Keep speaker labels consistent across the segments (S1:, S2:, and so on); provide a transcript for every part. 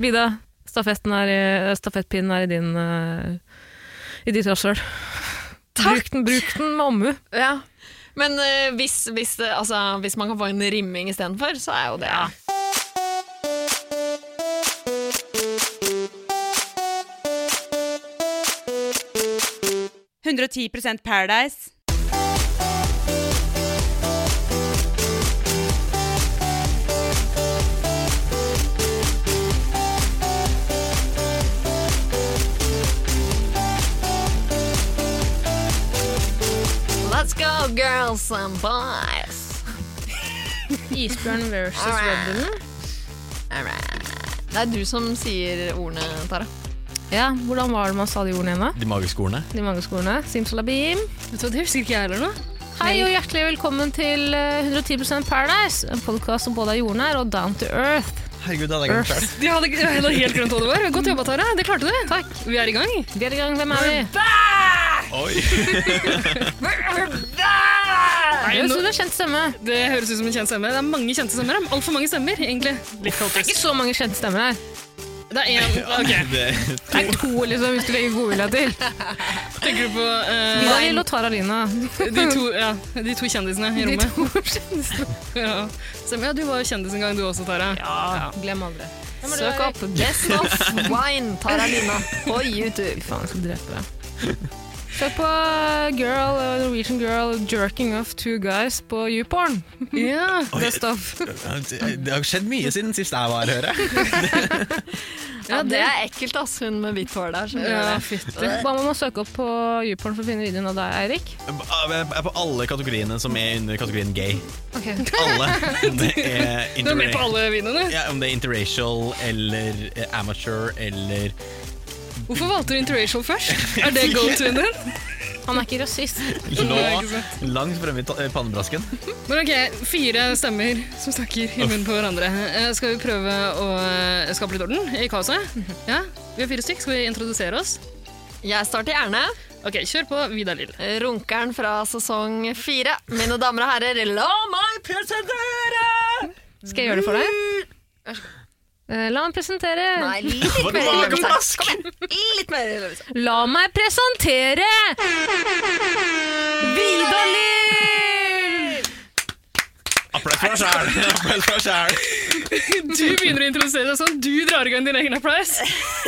S1: Vida, stafetten er i, stafettpinnen er i din eh, i ditt rasshøl. Bruk den, bruk den med omhu.
S2: Ja. Men eh, hvis, hvis, det- altså, hvis man kan få en rimming istedenfor, så er jo det
S3: P- 110 Paradise.
S2: Let's go, girls and boys!
S1: Isbjørn versus
S2: Robin. Alright. Det er du som sier ordene, Tara.
S1: Ja, Hvordan var det man sa de ordene igjen, da?
S4: De magiske ordene.
S1: De mange skolene. Simsalabim.
S5: Vet du hva, Det husker ikke jeg heller nå.
S1: Hei og hjertelig velkommen til eh, 110 Paradise, en podkast som både er jordnær og down to earth.
S4: Herregud, det hadde jeg glemt selv.
S5: De hadde ikke- jeg hadde helt glemt hva det var. Godt jobba, Tara. Det klarte du. Takk. Vi er i gang.
S1: Vi er i gang, hvem er vi?
S4: Oi.
S1: Det
S5: Nei,
S1: er jo
S5: nå,
S1: en kjent stemme.
S5: det høres ut som en kjent stemme. Det er mange kjente stemmer. da. Altfor mange stemmer, egentlig. Litt
S1: Ikke
S5: kaotisk.
S1: så mange kjente stemmer her.
S5: Det er én Ok,
S4: Det,
S1: Det er to, liksom, hvis du legger godvilja til.
S5: tenker du på
S1: Vida
S5: eh,
S1: Lill og Tara Lina.
S5: de, to, ja, de to kjendisene i
S1: De
S5: rommet?
S1: to kjendisene.
S5: Ja. Stemmer, ja, du var jo kjendis en gang, du også, Tara.
S1: Ja, glem aldri.
S2: Søk opp Best of Wine Tara Lina på YouTube.
S1: Faen, jeg skal drepe deg. Søk på girl, eh, Norwegian girl jerking off two guys på YouPorn.
S5: Ja.
S1: Best of.
S4: det har skjedd mye siden sist jeg var her, hører jeg.
S2: Ja, det er ekkelt, ass. Hun med hvitt hår der. skjønner
S5: Ja,
S2: du det?
S5: fytti.
S1: Eh, Hva må man søke opp på YouPorn for å finne videoen av deg, Eirik?
S4: Jeg er på alle kategoriene som er under kategorien gay.
S1: Okay.
S4: Alle. Om det er,
S5: Du er med på
S4: interra-
S5: alle videoene.
S4: ja, om det er interracial eller eh, amateur eller
S5: Hvorfor valgte du interracial først? Er det go-toen din?
S1: Han er ikke rasist.
S4: lå
S5: Nei, ikke sant.
S4: langt fremme i ta- eh, pannebrasken.
S5: Men ok, fire stemmer som snakker i munnen på hverandre. Eh, Skal vi prøve å eh, skape litt orden i kaoset? Ja, Vi er fire stykk. Skal vi introdusere oss?
S2: Jeg starter gjerne.
S5: Ok, Kjør på, Vidar Lill.
S2: Runkeren fra sesong fire. Mine damer og herrer, la meg presentere!
S1: Skal jeg gjøre det for deg? Eh, La meg presentere.
S2: Nei, litt mer løvesaus. Kom igjen! Litt mer løvesaus.
S1: La meg presentere Vidar Lill!
S4: Applaus for deg sjæl! Applaus for deg sjæl!
S5: Du begynner å introdusere deg sånn. Du drar i gang din egen applaus.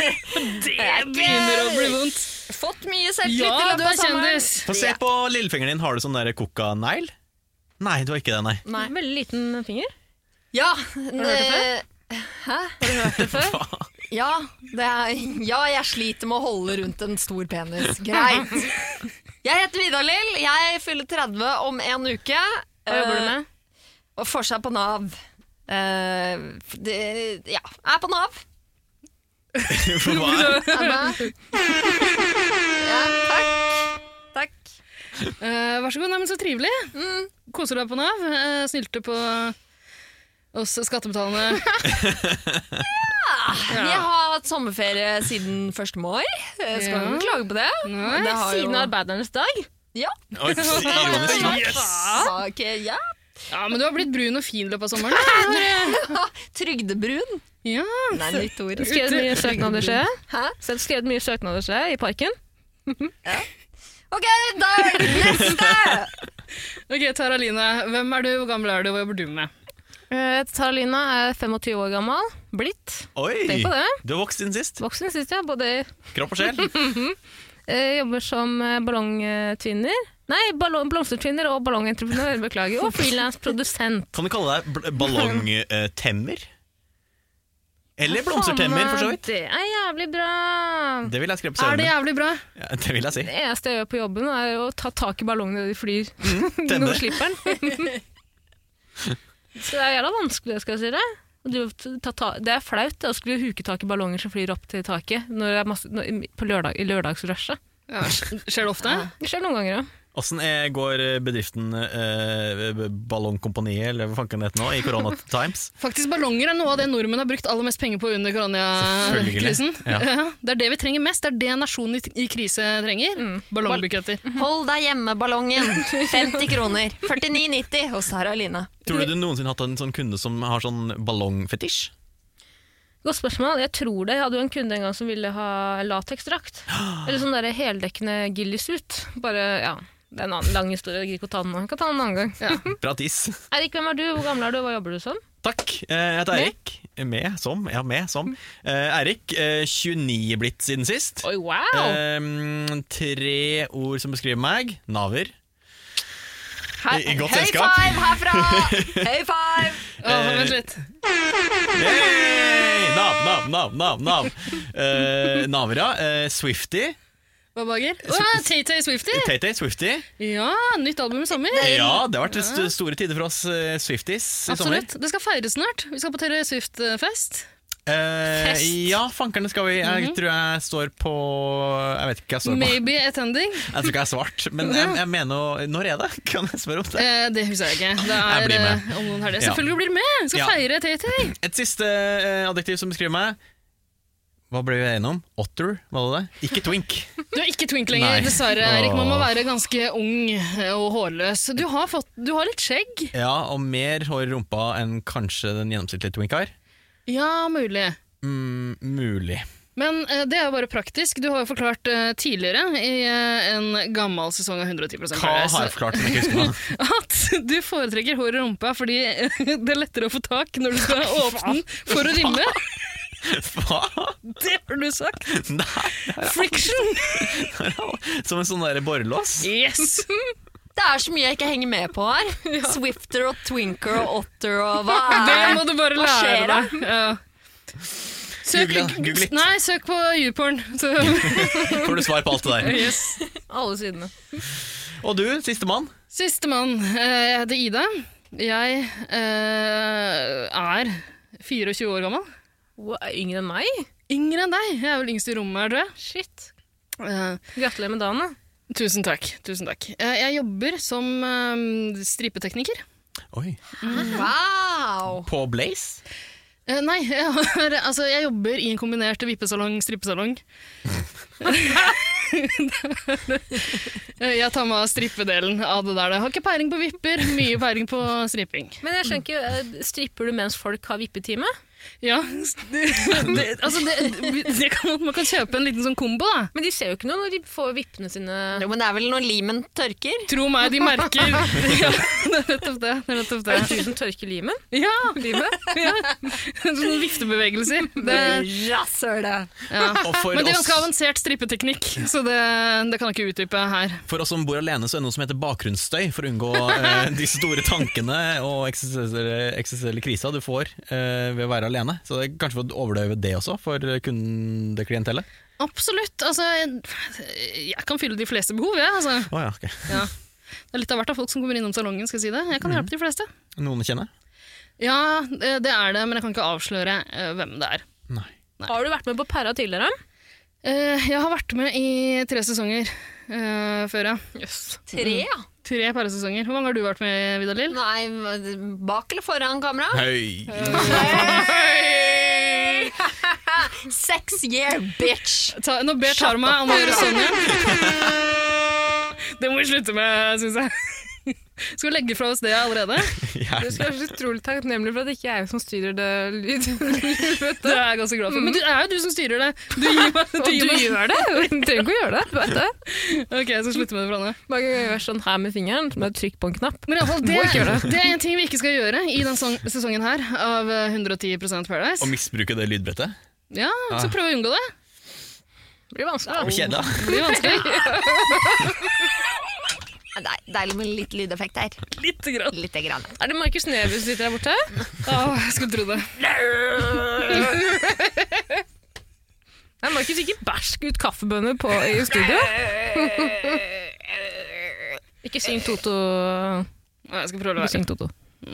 S5: Det begynner å bli vondt.
S2: Fått mye selvtillit
S5: Ja,
S2: i
S5: du
S2: løpet av
S5: er
S2: sommeren.
S5: kjendis.
S4: Få se på lillefingeren din. Har du sånn der kokka-negl? Nei, du har ikke det, nei.
S2: Nei.
S1: Veldig liten finger.
S2: Ja,
S1: det før?
S2: eh, Hæ? Har du hørt det før? Ja, det er, ja, jeg sliter med å holde rundt en stor penis. Greit. Jeg heter Vidar Lill. Jeg fyller 30 om en uke.
S1: Hva jobber du
S2: Eh,
S1: med?
S2: Og får seg på Nav. Eh, f- det, ja, er på Nav.
S4: Hva?
S2: Er det? Ja, takk. Takk.
S5: Eh, vær så god. Nei, men så trivelig. Mm. Koser deg på Nav. eh, snylte på oss skattebetalende.
S2: Jeg har hatt sommerferie siden 1. mai. Eh, Skal
S5: Ja.
S2: jo ikke klage på det.
S5: Nei,
S2: det har
S1: Siden
S2: jo,
S1: arbeidernes dag.
S2: ja.
S4: Oi, Ironisk nok.
S2: Sa ikke ja.
S5: Ja, Men du har blitt brun og fin i løpet av sommeren.
S2: Trygdebrun.
S5: Ja,
S2: Nei, nytt ord.
S1: Skrevet mye søknader, ser jeg.
S2: Hæ?
S1: Selv skrevet mye søknader, ser jeg, i parken.
S2: Ok, da er det neste!
S5: Ok, Tara Line, hvem er du, hvor gammel er du, hva jobber du med?
S1: Eh, Taralina er 25 år gammel. Blitt.
S4: Oi!
S1: Tenk på det.
S4: Du har vokst siden sist.
S1: Voksen, syns jeg. Både
S4: Kropp og sjel.
S1: eh, jobber som eh, ballongtvinner. Nei, ballong, blomstertvinner og ballongentreprenør, beklager. Og frilansprodusent.
S4: Kan du kalle deg bl- ballongtemmer? Eller blomstertemmer, for så vidt.
S1: Det er jævlig bra.
S4: Det vil jeg skrive på
S5: Er det
S4: CV-en.
S5: jævlig bra?
S4: Ja, det vil jeg si.
S1: Det eneste jeg gjør på jobben, er å ta tak i ballongene når de flyr.
S4: Mm, tenne.
S1: Når de slipper den. Så det er jævla vanskelig, skal jeg si det. Og du- ta, ta, det er flaut det, å skulle huke tak i ballonger som flyr opp til taket når det er masse, når, på lørdag, i lørdagsrushet.
S5: Ja, skjer det ofte?
S1: Det skjer noen ganger òg.
S4: Åssen eh, går eh, bedriften eh, B- Ballongkompaniet, eller hva fanken det heter nå, i Corona Times?
S5: Faktisk Ballonger er noe av det nordmenn har brukt aller mest penger på under Ah, koronakrisen.
S4: Selvfølgelig, ja.
S5: Det er det vi trenger mest. Det er det nasjonen i- i krise trenger.
S4: Mm.
S5: Ballongbuketter.
S2: Hold deg hjemme-ballongen. 50 kroner. 49,90 hos Sara Line.
S4: Tror du du noensinne har hatt en sånn kunde som har sånn ballongfetisj?
S1: Godt spørsmål. Jeg tror det. Jeg hadde jo en kunde en gang som ville ha lateksdrakt. Eller sånn der heldekkende gillisut. Bare, ja. Det er en annen lang historie, jeg gidder ikke å ta den nå. Jeg kan ta den en annen gang.
S5: Ja.
S4: Pratis.
S1: Eirik, hvem er du? Hvor gammel er du? Hva jobber du som?
S4: Takk. Eh, Jeg heter Eirik. Med, som. Ja, med, som. Eh, Eirik, eh, 29 blitt siden sist.
S1: Oi, wow!
S4: Eh, tre ord som beskriver meg. Naver.
S1: Hei-
S4: I, i godt
S2: Høy
S4: selskap.
S2: five herfra! Høy five!
S5: Åh,
S4: Eh,
S5: vent litt.
S4: Hey! Nav, nav, nav, nav, nav. Eh, naver, ja. Eh, Swifty.
S5: Hva bager? Åh, Tay-Tay Swifty!
S4: Tay-Tay, Swifty.
S5: Ja, nytt album i sommer.
S4: Ja, det har vært st store tider for oss eh, Swifties i sommer.
S5: Absolutt. Det skal feires snart. Vi skal på Taylor Swift-fest.
S4: Eh,
S5: Fest. Mhm.
S4: ja, fankerne skal vi. Jeg tror jeg står på Jeg vet ikke hva jeg står på.
S5: Maybe attending.
S4: Jeg tror ikke jeg er svart, men jeg, jeg mener jo- Når er det? Kan jeg spørre om det?
S5: Eh, det husker jeg ikke. Det
S4: Jeg
S5: er
S4: blir med.
S5: eh, om noen helger.
S4: Ja.
S5: Selvfølgelig blir du med! Vi skal
S4: Ja.
S5: feire Tay-Tay.
S4: Et siste eh, adjektiv som beskriver meg. Hva ble vi enige om? Otter, var det det? Ikke twink.
S5: Du er ikke twink
S4: Nei.
S5: lenger, dessverre. Erik, man må
S4: Åh.
S5: være ganske ung eh, og hårløs. Du har, fått, du har litt skjegg.
S4: Ja, og mer hår i rumpa enn kanskje den gjennomsnittlige twink har.
S5: Ja, mulig.
S4: Mm, mulig.
S5: Men eh, det er jo bare praktisk. Du har jo forklart eh, tidligere i eh, en gammel sesong av 110
S4: Hva har jeg forklart som jeg ikke husker nå?
S5: At du foretrekker hår i rumpa fordi eh, det er lettere å få tak når du skal åpne den for å rimme.
S4: Hva?
S5: Det har du sagt!
S4: Nei, det er
S5: Friction!
S4: alt. Som en sånn der borrelås.
S5: Yes!
S2: Det er så mye jeg ikke henger med på her. Swifter og Twinker og Otter og hva
S5: Det
S2: er
S5: må du bare
S2: Hva skjer
S5: lære
S2: da?
S5: deg. Ja. Søk,
S4: Google- Google litt.
S5: Nei, søk på YouPorn. Så,
S4: Får du svar på alt det der.
S5: yes.
S1: Alle sidene.
S4: Og du, sistemann.
S5: Sistemann. Eh, Jeg heter Ida. Jeg eh, er 24 år gammel.
S1: Wow, Yngre enn meg?
S5: Yngre enn deg. Jeg er vel yngst i rommet her, tror jeg.
S1: Shit.
S5: Eh,
S1: Gratulerer med dagen, da.
S5: tusen takk. tusen takk. Eh, jeg jobber som eh, stripetekniker.
S4: Oi.
S2: Wow!
S4: På Blaze?
S5: Eh, nei, jeg, har, altså, jeg jobber i en kombinert vippesalong-strippesalong. Eh, jeg tar med av strippedelen av det der. Jeg har ikke peiling på vipper, mye peiling på stripping.
S1: Men jeg skjønner ikke, eh, Stripper du mens folk har vippetime?
S5: Ja, det, det, altså det, det kan, Man kan kjøpe en liten sånn kombo, da.
S1: Men de ser jo ikke noe når de får vippene sine
S2: Jo, men det er vel når limen tørker?
S5: Tro meg, de merker ja, Det er nettopp det. det, er nettopp
S1: Er det
S5: det.
S1: du som tørker limen?
S5: Ja, ja. Sånne viftebevegelser. Det,
S2: Rasshølet!
S5: ja.
S4: Og for,
S5: Men det er
S4: oss,
S5: ganske avansert strippeteknikk, så det, det kan jeg ikke utdype her.
S4: for oss som bor alene, så er det noe som heter bakgrunnsstøy, for å unngå eh, de store tankene og eksistensielle eksistensielle krisa du får eh, ved å være alene. Så det er kanskje for å overdøve det også, for kundeklientellet.
S5: Absolutt. Altså, jeg, jeg kan fylle de fleste behov, jeg. Altså.
S4: Å ja, ok.
S5: Ja. Det er litt av hvert av folk som kommer innom salongen, skal jeg si det. Jeg
S4: Mm.
S5: kan hjelpe de fleste.
S4: Noen kjenner?
S5: Ja, det det er det, men jeg kan ikke avsløre eh, hvem det er.
S4: Nei.
S1: Har du vært med på Perra tidligere?
S5: Eh, Jeg har vært med i tre sesonger eh, før, ja.
S2: Tre, ja.
S5: Tre paresesonger. Hvor mange har du vært med, Vidar Lill?
S2: Nei, bak eller foran kamera?
S4: Høy.
S2: Sex year bitch!
S5: Ta, nå ber Tara meg om å gjøre sånn igjen. Det må vi slutte med, syns jeg. Skal vi legge fra oss det allerede?
S1: Du
S4: Gjerne.
S1: skal være så utrolig takknemlig for at det ikke er jeg som styrer det lyd.
S5: Det er jeg ganske glad for. Men det er jo du som styrer det. Du gir meg, du
S1: Mm. Og
S5: gir
S1: du
S5: meg.
S1: gjør det! Du trenger ikke å gjøre det. du Vet det.
S5: Ok, jeg skal slutte med det fra nå.
S1: Mange ganger gjør jeg sånn her med fingeren, med trykk på en knapp.
S5: Men i alle fall, det,
S1: Må ikke gjøre
S5: det er en ting vi ikke skal gjøre i denne song- sesongen her av eh, 110 Paradise.
S4: Å misbruke det lydbrettet?
S5: Ja, Så prøv å unngå det.
S1: Det blir
S4: Og
S1: vanskelig.
S4: kjeda?
S5: Det blir vanskelig.
S2: Det er deilig med litt lydeffekt her.
S5: Litt grann.
S2: Lite grann.
S1: Er det Markus Neby som sitter der borte?
S5: Åh, jeg skulle tro det.
S2: Øh,
S1: Nei, Markus ikke bæsj ut kaffebønner på, i studio. ikke syng Toto.
S5: Åh, Jeg skal prøve å
S1: Ikke
S5: være
S1: syng Toto.
S5: Vi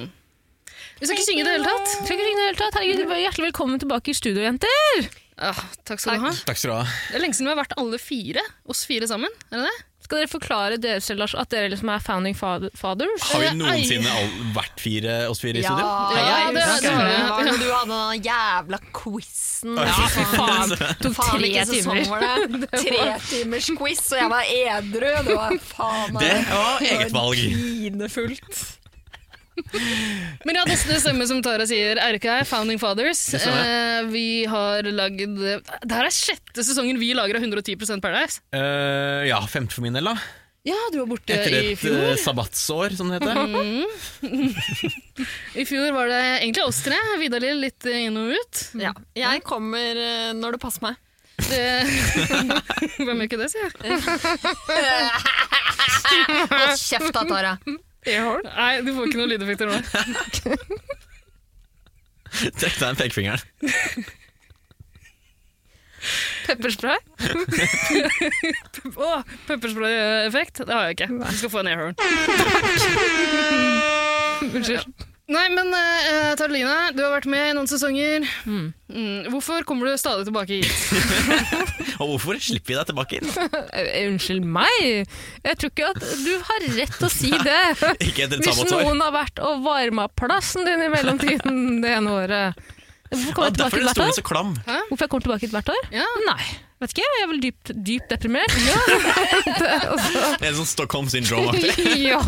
S5: skal ikke synge i det hele tatt.
S1: Skal ikke synge i det hele tatt. Herregud, hjertelig velkommen tilbake i studio, jenter!
S5: Ah, takk skal du ha.
S4: Takk skal du ha.
S5: Det er lenge siden vi har vært alle fire, oss fire sammen. Er det det?
S1: Skal dere forklare dere selv, Lars, at dere liksom er founding fa- fathers?
S4: Har vi
S5: Eh,
S4: noensinne all, vært fire, oss fire i
S2: Ja,
S4: studio?
S5: Ja,
S2: jeg
S5: det-
S2: husker
S5: det var
S2: det sånn.
S5: det.
S2: var når du hadde den jævla quizen. Altså,
S4: Ja,
S1: Fy faen, tok
S2: Faen,
S1: tre
S2: hvilken sesong
S1: timer.
S2: var det? Tre timers quiz, og jeg var edru. Det var faen meg
S4: Det var eget valg.
S2: Pinefullt.
S5: Men ja, det, det stemmer som Tara sier. RK er Founding Fathers.
S4: Det stemmer.
S5: Eh, vi har lagd eh, Det her er sjette sesongen vi lager av 110 Paradise.
S4: Eh, ja, femte for min del, da.
S5: Ja, du var borte
S4: Etter
S5: i
S4: et
S5: fjor.
S4: eh, sabbatsår, som det heter. eh,
S5: I fjor var det egentlig oss tre. Vidar-Lill litt eh, inn og ut.
S2: Ja. Jeg kommer eh, når det passer meg.
S5: Det, hvem gjør ikke det, sier jeg?
S2: Hold kjeft da, Tara.
S5: Nei, du får ikke noen lydeffekter nå.
S4: Trekk deg den pekefingeren.
S1: Pepperspray?
S5: Å, pepperspray-effekt? Det har jeg ikke. Du skal få en airhorn. Unnskyld. Nei, men eh, Taralina, du har vært med i noen sesonger. Mm. Hvorfor kommer du stadig tilbake hit?
S4: Og hvorfor slipper vi deg tilbake inn?
S1: Eh, Unnskyld meg! Jeg tror ikke at du har rett til å si det.
S4: Ikke etter et
S1: Hvis
S4: sabbatsår.
S1: noen har vært og varma plassen din i mellomtiden det ene året. Hvorfor
S4: Ja,
S1: kommer jeg
S4: derfor
S1: tilbake
S4: er
S1: hit
S4: den stolen
S1: hvert år?
S4: så klam.
S1: Hvorfor jeg kommer tilbake hit hvert år?
S5: Ja.
S1: Nei, vet ikke. Jeg er vel dypt, dypt deprimert. Ja.
S4: Det er en sånn Stockholm syndrome.
S5: ja.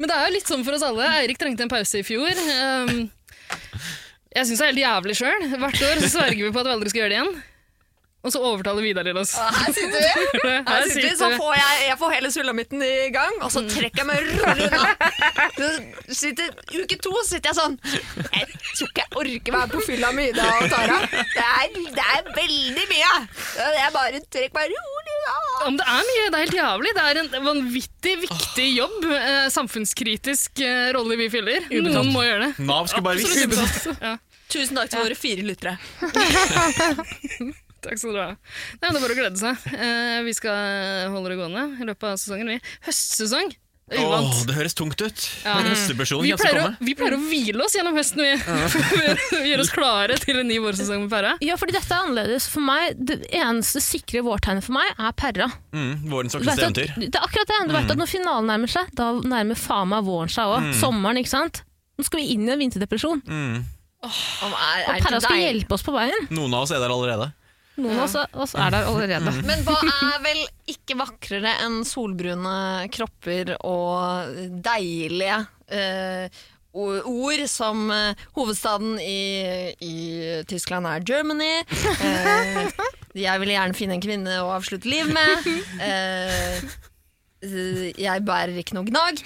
S5: Men det er jo litt sånn for oss alle. Eirik trengte en pause i fjor. Um, jeg syns det er helt jævlig sjøl. Hvert år så sverger vi på at vi aldri skal gjøre det igjen. Og så overtaler Vidar til oss.
S2: Her sitter vi. Her sitter vi, så
S5: vi.
S2: får jeg, jeg får hele sulamitten i gang, og så trekker jeg meg rolig unna. Så sitter- Uke to sitter jeg sånn Jeg tror ikke jeg orker være på fylla med Ida og Tara. Det er, det er veldig mye. Jeg bare trekker meg rolig unna.
S5: Om det er mye, det er helt jævlig. Det er en vanvittig viktig jobb. Eh, samfunnskritisk eh, rolle vi fyller. Noen må gjøre det.
S4: Nav skulle bare
S5: Så det
S4: visst.
S5: synes jeg. Ja.
S2: Tusen takk til våre fire lyttere.
S5: Takk skal dere ha. Nei, men det er bare å glede seg. Eh, vi skal holde det gående i løpet av sesongen. Vi. Høstsesong. Det er uvant.
S4: Åh, det høres tungt ut.
S5: Ja.
S4: Men høstepersonen
S5: Vi
S4: kan
S5: pleier,
S4: skal
S5: å,
S4: komme.
S5: vi pleier å hvile oss gjennom høsten, vi. For å Gjøre oss klare til en ny vårsesong med Perra.
S1: ja, fordi dette er annerledes. For meg, Det eneste sikre vårtegnet for meg er perra.
S4: Mm,
S1: Du
S4: vårens
S1: vet
S4: vakreste
S1: at,
S4: eventyr.
S1: det er Mm. akkurat det. Du vet at når finalen nærmer seg, da nærmer faen meg våren seg òg. Sommeren, ikke sant. Nå skal vi inn i en vinterdepresjon. Og perra skal hjelpe oss på veien.
S4: Noen av oss er der allerede.
S1: Noen av oss, oss er der allerede.
S2: Men hva er vel ikke vakrere enn solbrune kropper og deilige eh, o- ord som eh, hovedstaden i, i Tyskland er Germany. Eh, jeg ville gjerne finne en kvinne å avslutte liv med. Eh, jeg bærer ikke noe gnag.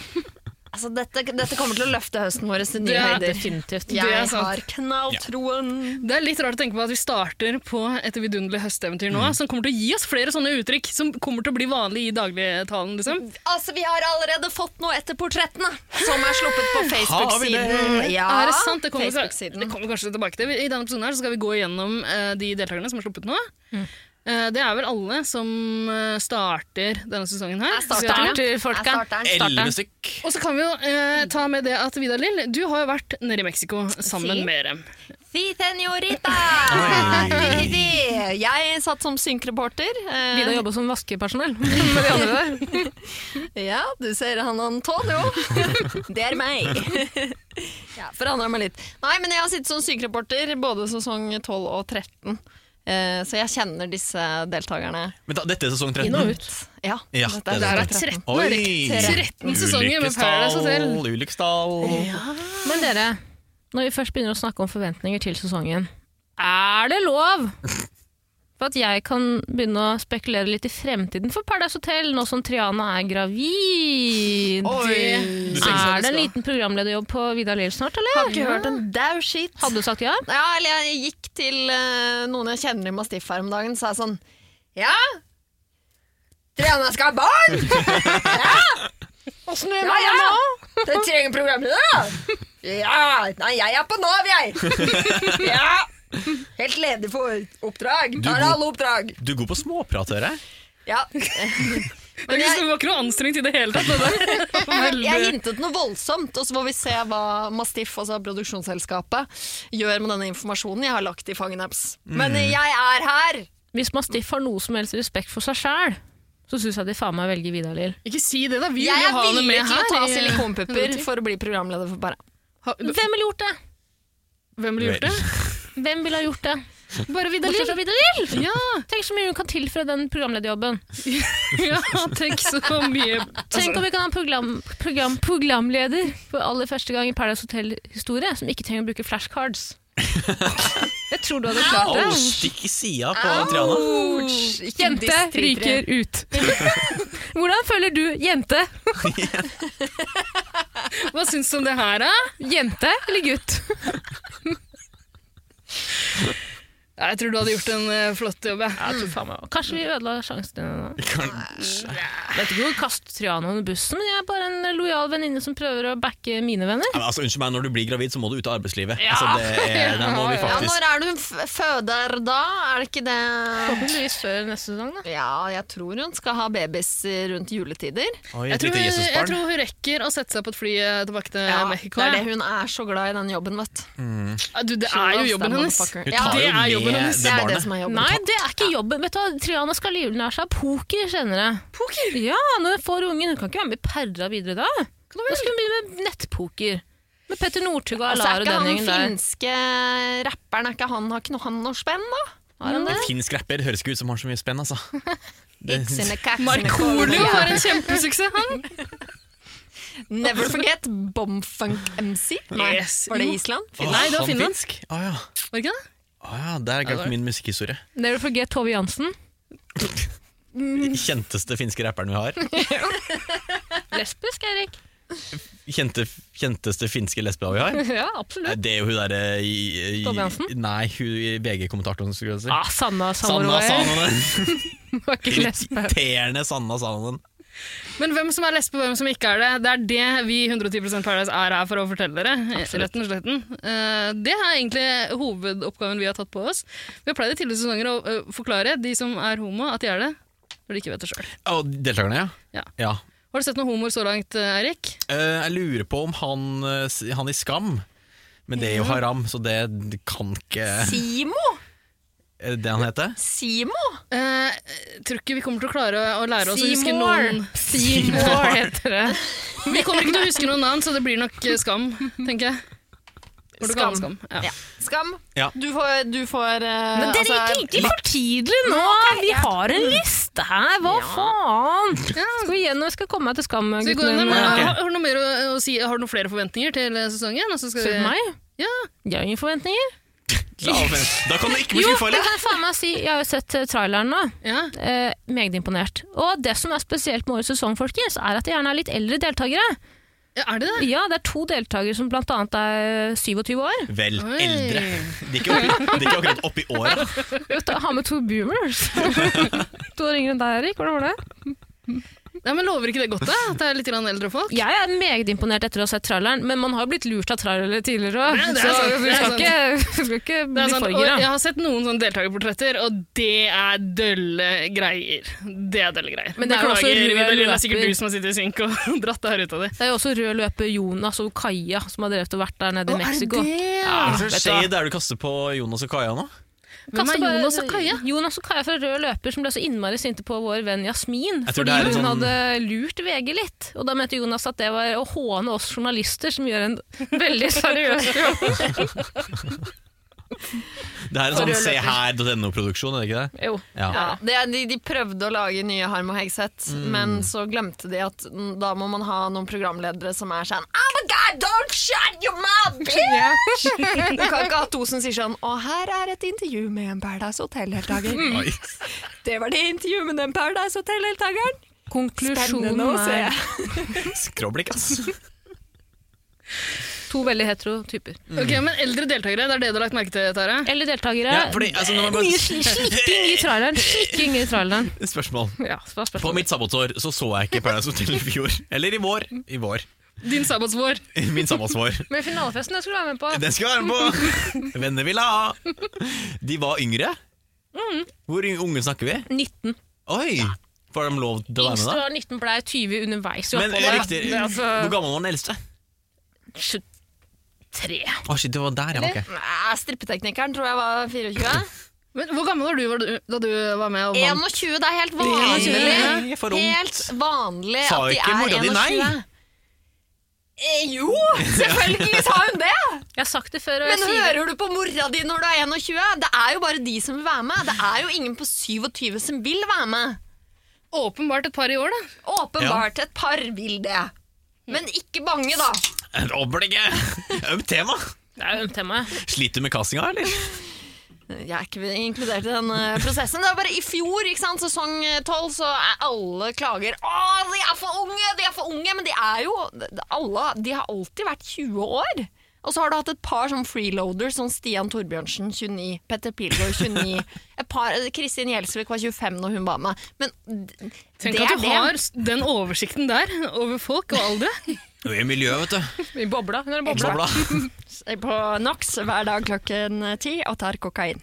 S2: Altså, dette, dette kommer til å løfte høsten vår til nye
S5: Ja,
S2: høyder.
S1: Definitivt.
S5: det er
S2: Jeg
S5: sant.
S2: har knalltroen.
S5: Det er litt rart å tenke på at vi starter på et vidunderlig høsteventyr nå, som kommer til å gi oss flere sånne uttrykk som kommer til å bli vanlig i dagligtalen. liksom.
S2: Altså, Vi har allerede fått noe etter portrettene, som er sluppet på
S4: Har vi det?
S2: Facebook-siden. Ja,
S5: er det sant? Det kommer, fra, det
S2: Facebook-siden.
S5: kommer kanskje tilbake til. I denne episoden her så skal vi gå igjennom eh, de deltakerne som har sluppet nå.
S2: Mm.
S5: Eh, det er vel alle som eh, starter denne sesongen her.
S2: Jeg starter,
S5: Skal-
S2: ja.
S1: Starter, folka.
S2: Jeg starter den.
S4: Elleve stykk.
S5: Og så kan vi jo eh, ta med det at Vidar Lill, du har jo vært nede i Mexico sammen
S2: Si.
S5: med dem.
S2: Si, senorita!
S4: Oi.
S2: Jeg satt som synkreporter. eh,
S1: Vidar jobber som vaskepersonell. Med de andre der.
S2: Ja, du ser han Antonio. Det er meg. Ja, Forandra meg litt. Nei, men jeg har sittet som sykereporter både sesong 12 og 13. eh, Så jeg kjenner disse deltakerne.
S4: Men da, dette er sesong 13.
S1: Inn og ut.
S2: Ja,
S4: Ja,
S2: dette
S4: det er
S2: sesong
S4: sant.
S2: 13.
S4: Oi!
S5: 13 sesonger med Paradise Hotel.
S4: Ulykkesdal, Ulykkesdal.
S1: Men dere, når vi først begynner å snakke om forventninger til sesongen, er det lov for at jeg kan begynne å spekulere litt i fremtiden for Paradise Hotel, nå som Triana er gravid?
S2: Oi!
S4: Du tenker
S1: Er det en liten programlederjobb på Vidar Lill snart, eller?
S2: Har ikke hørt en dau skit.
S1: Hadde du sagt ja?
S2: Ja, eller jeg gikk til eh, noen jeg kjenner i Mastiff her om dagen, sa jeg sånn Ja? Triana skal ha barn! Ja! Åssen gjør man det nå? Dere trenger programleder, da! Ja! Nei, jeg er på Nav, jeg! Ja! Helt ledig for oppdrag.
S4: Du
S2: Tar
S4: god-
S2: alle oppdrag.
S4: Du er god på småprat, hører jeg.
S2: Ja.
S5: Det er ikke så- det var ikke noe anstrengt i det hele tatt. Det der.
S2: Jeg, jeg
S5: Veldig-
S2: hintet noe voldsomt, og så må vi se hva Mastiff, altså produksjonsselskapet, gjør med denne informasjonen jeg har lagt i fangenapps. Men jeg er her!
S1: Hvis Mastiff har noe som helst respekt for seg sjæl, så syns jeg de faen meg velger Vidar Lill.
S5: Ikke si det, da. Vi vil
S2: Jeg
S5: jo
S2: er
S5: ha henne
S2: villig
S5: med
S2: til å ta
S5: her. i-
S2: silikonpupper for å bli programleder for Bæra.
S5: Ha-
S1: Hvem ville gjort det?
S5: Hvem ville gjort det?
S1: Hvem ville ha gjort det?
S5: Bare Vidar
S1: Bortsett
S5: Lill.
S1: fra Vidar Lill!
S5: Ja,
S1: Tenk så mye hun kan tilføre den programlederjobben.
S5: ja, tenk så mye
S4: Altså-
S1: Tenk om vi kan ha en program, program, programleder for aller første gang i Paradise Hotel-historie som ikke trenger å bruke flashcards. Jeg tror du hadde klart
S4: Au,
S1: det.
S4: stikk i sida på Triana.
S2: Ouch, ikke
S1: Jente
S2: diss til tre.
S5: Altså,
S1: ryker ut. Hvordan føler du jente?
S5: Hva syns du om det her, da?
S1: Jente eller gutt?
S5: Ja, Jeg tror du hadde gjort en eh, flott jobb. jeg.
S1: Jeg tror faen meg Kanskje vi ødela sjansen din nå.
S4: Kanskje.
S1: Vet ikke hvor kast Triano under bussen, men jeg er bare en lojal venninne som prøver å backe mine venner.
S4: Ja, men altså, unnskyld meg, når du blir gravid, så må du ut av arbeidslivet. Altså, det er, der må vi
S2: Ja,
S4: faktisk
S2: når er det hun f- føder da? Er det ikke det
S1: Forhåpentligvis før neste sesong, da.
S2: Ja, jeg tror hun skal ha babys rundt juletider.
S4: Oi,
S5: Jeg
S4: et
S5: tror,
S4: lite
S5: hun, jeg
S4: Jesusbarn.
S5: tror hun rekker å sette seg på et fly eh, tilbake til
S2: Ja, det
S5: Mexico.
S2: er det
S5: jeg.
S2: hun er så glad i den jobben, vet du.
S5: Ja, du, det er jo jobben hennes.
S4: Hun
S2: Ja,
S4: tar
S5: det
S4: jo
S5: er jobben hennes.
S4: med det
S2: det er det
S4: barnet.
S2: som er jobben.
S1: Nei, det er ikke jobben. Vet du hva, Triana skal livnære seg av poker senere. Poker? Ja, når hun får ungen. Hun kan ikke være med i Perra videre da. Da skal hun begynne med nettpoker. Med Petter Northug og
S2: Altså, er
S1: Alar og
S2: ikke
S1: den
S2: han
S1: gjengen der.
S2: finske rapperen, er ikke han, har ikke noe han noe spenn, da?
S1: Har han det?
S4: En finsk rapper høres ikke ut som har så mye spenn, altså. Det,
S5: Markoolio var en kjempesuksess, han.
S2: Never forget Bomfunk MC.
S5: Yes,
S2: var det
S5: jo.
S2: Island?
S4: Åh,
S5: Nei, det var
S4: han
S5: Finland.
S4: Finsk? Å ja.
S5: Var det ikke det?
S4: Å ja,
S5: Ja,
S4: der
S5: det var-
S4: glemte min musikkhistorie.
S1: Never forget Tove Jansen.
S4: Kjenteste finske rapperen vi har.
S1: Lesbisk, Erik.
S4: Kjente, kjenteste finske lesba vi har.
S1: Ja,
S4: Nei,
S1: absolutt.
S4: Det er jo hun derre
S1: Tove Jansen?
S4: Nei, hun i VG-kommentatoren, skulle jeg si.
S1: Ah, Sanna
S4: Sanna
S1: Samarova
S4: Sanonen.
S1: var ikke lesbe.
S4: Irriterende Sanna Sanonen.
S5: Men hvem som er lesbe og hvem som ikke er det, det er det vi i 110 Paradise er her for å fortelle dere. Retten og sletten. Eh, Det er egentlig hovedoppgaven vi har tatt på oss. Vi har pleid i tidligere sesonger å eh, forklare de som er homo, at de er det, når de ikke vet det sjøl.
S4: Og deltakerne,
S5: Ja.
S4: ja. ja.
S5: Har du sett noen homoer så langt, eh, Eirik?
S4: Eh, jeg lurer på om han, eh, s- han i Skam Men det er jo Haram, så det kan ikke
S2: Simo?
S4: Er det det han heter?
S2: Simo?
S5: Eh, tror ikke vi kommer til å klare å, å lære oss å huske
S1: Seymour.
S5: noen
S1: Seymour heter det.
S5: Vi kommer ikke til å huske noen navn, så det blir nok eh, Skam, tenker jeg. Kommer til å kalle det skam. Ja.
S2: Ja. Skam.
S4: Ja.
S2: Du får, du får eh,
S1: Men dere
S2: altså,
S1: gikk ikke for tidlig nå! Vi har en liste her, hva faen? Skal vi igjennom? Jeg skal komme meg til skam,
S5: Så vi går
S1: guttene.
S5: inn, men,
S4: ok.
S5: har, har, du noe mer å, å si, har du noen flere forventninger til eh, sesongen? Og så skal
S1: Spør
S5: vi,
S1: du meg?
S5: Ja.
S1: Jeg har ingen forventninger.
S4: La, vent. da kan det ikke bli
S1: Jo,
S4: skuffa,
S1: det
S4: eller?
S1: kan jeg faen meg si. Jeg har jo sett eh, traileren nå.
S5: Ja.
S1: Eh, meget imponert. Og det som er spesielt med årets sesong, folkens, er at det gjerne er litt eldre deltakere.
S5: ja, er det det?
S1: Ja, det er to deltakere som blant annet er 27 år.
S4: Vel,
S5: Oi.
S4: eldre. De er ikke, oppi, de er ikke akkurat oppi åra.
S1: Vet du, Ha med to boomers. to år yngre enn deg, Erik. Hvordan var det?
S5: Nei, men Lover ikke det godt, da? At det er litt grann eldre folk?
S1: Jeg er meget imponert etter å ha sett traileren, men man har jo blitt lurt av trailere tidligere òg.
S5: Ja, det er
S1: Så
S5: sant,
S1: du
S5: det er
S1: skal
S5: sant.
S1: ikke, du skal ikke
S5: Det
S1: bli
S5: er sant, og
S1: forgira.
S5: jeg har sett noen sånne deltakerportretter, og det er dølle greier. Det er dølle greier.
S1: Men det er jo også rød
S5: Vidar Lill, det er
S1: løper.
S5: sikkert du som har sittet i synk og dratt det her ut av det.
S1: Det er jo også rød løper Jonas og Kaja, som har drevet og vært der nede i Mexico.
S5: Ja.
S4: Hva
S1: vet du hva?
S4: skjer der du kaster på Jonas og Kaja nå?
S5: Hvem
S1: Kaste
S5: er
S1: på-
S5: Jonas og Kaja?
S1: Jonas og Kaja fra Rød Løper som ble så innmari sinte på vår venn Jasmin
S4: Jeg tror
S1: fordi
S4: det er
S1: hun
S4: en sånn-
S1: hadde lurt VG litt. Og da mente Jonas at det var å håne oss journalister som gjør en veldig seriøs jobb.
S4: Det her er en sånn se her.no-produksjon, er det ikke det?
S1: Jo.
S4: Ja. Mm.
S2: Ja, det, er- de, de prøvde å lage nye Harm og Hegseth, men så glemte de at mm, da må man ha noen programledere som er sånn Oh my god, don't shut your mouth, bitch! Du kan ikke ha to som sier sånn Og her er et intervju med en Paradise Hotel-deltaker.
S4: Oi.
S2: Det var det intervjuet med den Paradise Hotel-deltakeren.
S1: Konklusjonen
S2: Spennende å se.
S1: er
S4: Skråblikk, ass.
S1: to veldig hetero typer.
S5: Ok, Men eldre deltakere, det er det du har lagt merke til, Tara?
S1: Eller deltakere.
S4: Ja, fordi, altså, når man bare-
S1: Mye sli- slikking i traileren. Slikking i traileren.
S4: Spørsmål.
S1: Ja, så var
S4: På
S1: spørsmålet.
S4: mitt sabbatsår så så jeg ikke Paradise Hotel i fjor. Eller i vår. I vår.
S5: Din sabbatsvår.
S4: Min sabbatsvår.
S1: Men finalefesten jeg skulle være med på.
S4: Den skal være med på! Venner ville ha! De var yngre. Hvor yng- unge snakker vi?
S1: 19.
S4: Oi! Får de lov til å være
S1: Yngste
S4: med, da?
S1: var 19, blei 20 underveis i
S4: Men
S1: oppholdet.
S4: riktig,
S1: Det er
S4: Hvor
S1: altså
S4: gammel var den eldste?
S1: 23.
S4: Å, shit, det var der, ja. ok.
S2: Nei, Ah, Strippeteknikeren tror jeg var 24.
S5: Men hvor gammel var du var du- da du var med og vant?
S2: 21, det er helt
S4: Nei,
S2: vanlig.
S4: for ungt.
S2: Helt vanlig
S4: Sa
S2: at de
S4: ikke mora
S2: er
S4: di nei?
S2: 21. Eh, jo, selvfølgelig sa hun det!
S1: Jeg har sagt det før, og jeg
S2: Men
S1: sier det.
S2: hører du på mora di når du er 21? Det er jo bare de som vil være med. Det er jo ingen på 27 som vil være med.
S5: Åpenbart et par i år, da.
S2: Åpenbart et par vil det. Men ikke bange, da.
S4: Oblige! Ømt tema!
S1: Det er jo ømt tema.
S4: Sliter du med castinga, eller?
S2: Jeg er ikke inkludert i den eh, prosessen. Det er bare I fjor, ikke sant, sesong tolv, så er alle klager. Å, de er for unge! De er for unge! Men de er jo alle, De har alltid vært 20 år. Og så har du hatt et par sånn freeloaders, sånn Stian Torbjørnsen 29, Petter Pilgaard 29 et par, Kristin Gjelsvik var 25 når hun var med. Men d-
S5: Tenk
S2: det
S5: at
S2: er
S5: du
S2: det.
S5: har s- den oversikten der over folk og aldre.
S4: Du er i miljøet, vet du.
S1: I bobla. Hun er i bobla.
S4: Bobla.
S2: på NOx hver dag klokken ti og tar kokain.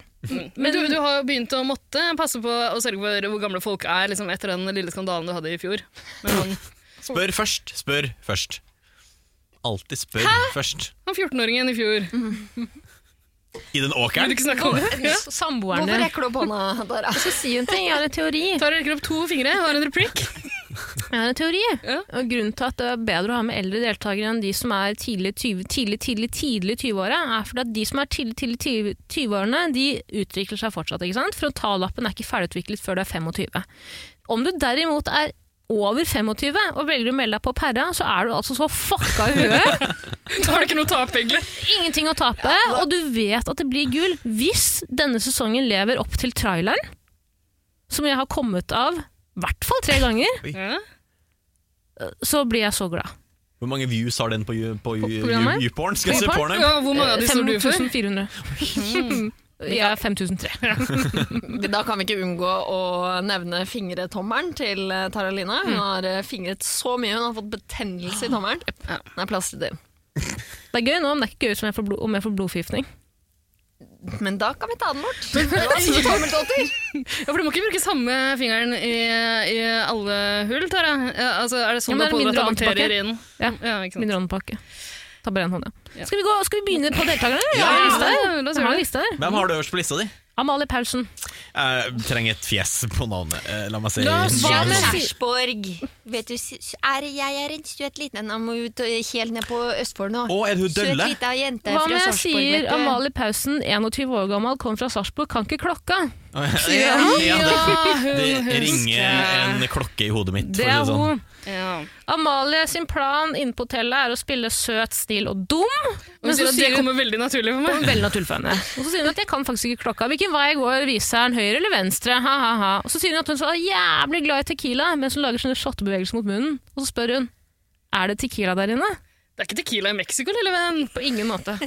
S5: Men du, du har jo begynt å måtte passe på å sørge for hvor gamle folk er liksom, etter den lille skandalen du hadde i fjor. Med han,
S4: Spør først, spør først. Alltid spør først.
S5: han 14-åringen i fjor. Vil
S4: I den
S5: du
S4: åkeren.
S5: ikke snakke om det? Ja.
S1: Samboeren
S2: Hvorfor
S1: din.
S2: rekker du opp hånda, Tara?
S1: Så sier hun ting. Jeg har en teori.
S5: Tar og rekker opp to fingre, har en replikk.
S1: Jeg har en teori.
S5: Ja.
S1: Og grunnen til at det er bedre å ha med eldre deltakere enn de som er tidlig, 20 tidlig, tidlig, tidlig 20-åra, er fordi at de som er tidlig, tidlig, tidlig 20-årene, de utvikler seg fortsatt. ikke sant? Frontallappen er ikke ferdigutviklet før du er 25. Om du derimot er over 25 og velger å melde deg på Perra, så er du altså så fucka i huet.
S5: Da har du ikke noe å tape, egentlig.
S1: Ingenting å tape, og du vet at det blir gull hvis denne sesongen lever opp til traileren, som jeg har kommet av i hvert fall tre ganger,
S5: Ja.
S1: så blir jeg så glad.
S4: Hvor mange views har den på, ju- på, ju-
S1: programmet?
S4: ju- YouPorn? Skal jeg se
S1: YouPorn?
S4: porno?
S5: Ja, hvor mange av
S1: Eh,
S5: de står du for?
S1: 5400. Jeg er 5300.
S2: Da kan vi ikke unngå å nevne fingretommelen til eh, Tara Line. Hun har eh, fingret så mye, hun har fått betennelse i tommelen.
S5: Ja.
S2: Den er plastisk.
S1: Det er gøy nå, men det er ikke gøy som jeg får blod, om jeg får blodforgiftning.
S2: Men da kan vi ta den bort. Det var mye tommeltotter.
S5: Ja, for du må ikke bruke samme fingeren i, i alle hull, Tara. Ja, altså, er det
S1: Ja,
S5: sånn
S1: men
S5: du holder
S1: mindre
S5: at bakterier inn?
S1: Ja.
S5: ikke sant.
S1: Min rånepakke. Ta bare en hånd, ja.
S5: Ja.
S1: Skal vi, gå, skal vi begynne på deltakerne? eller?
S4: Ja,
S1: Jeg har en liste her.
S5: ja, la oss
S1: Jeg har
S5: gjøre
S1: en
S5: det.
S1: liste her.
S4: Hvem har du øverst på lista di?
S1: Amalie Paulsen.
S4: Eh, trenger et fjes på navnet. Eh, la meg se.
S1: La oss- hva med-
S2: Kjærsborg. Vet du, s- er, jeg er en søt liten en. Jeg må ut og- helt ned på Østfold nå.
S4: Å, er det hun
S2: Søt
S4: dølle?
S2: lita jente
S1: Hva om
S2: fra
S1: jeg
S2: Sarpsborg,
S1: sier
S2: vet du.
S1: Amalie Pausen, 21 år gammel, kom fra Sarpsborg, kan ikke klokka?
S4: Ja,
S5: Ja,
S4: ja,
S5: hun
S4: det, det
S5: husker
S4: ringer
S5: jeg.
S4: en klokke i hodet mitt.
S1: Det er hun.
S4: sånn.
S5: Ja.
S1: Amalie sin plan inne på hotellet er å spille søt, snill og dum.
S5: Og hun sier at det kommer veldig naturlig for meg.
S1: Veldig naturlig for henne. Og så sier hun at jeg kan faktisk ikke klokka. Hvilken vei går viseren? Høyre eller venstre? Ha, ha, ha. Og så sier hun at hun så er jævlig glad i tequila, mens hun lager sånne shottebevegelser mot munnen. Og så spør hun er det tequila der inne.
S5: Det er ikke Tequila i Mexico, lille venn.
S1: På ingen måte.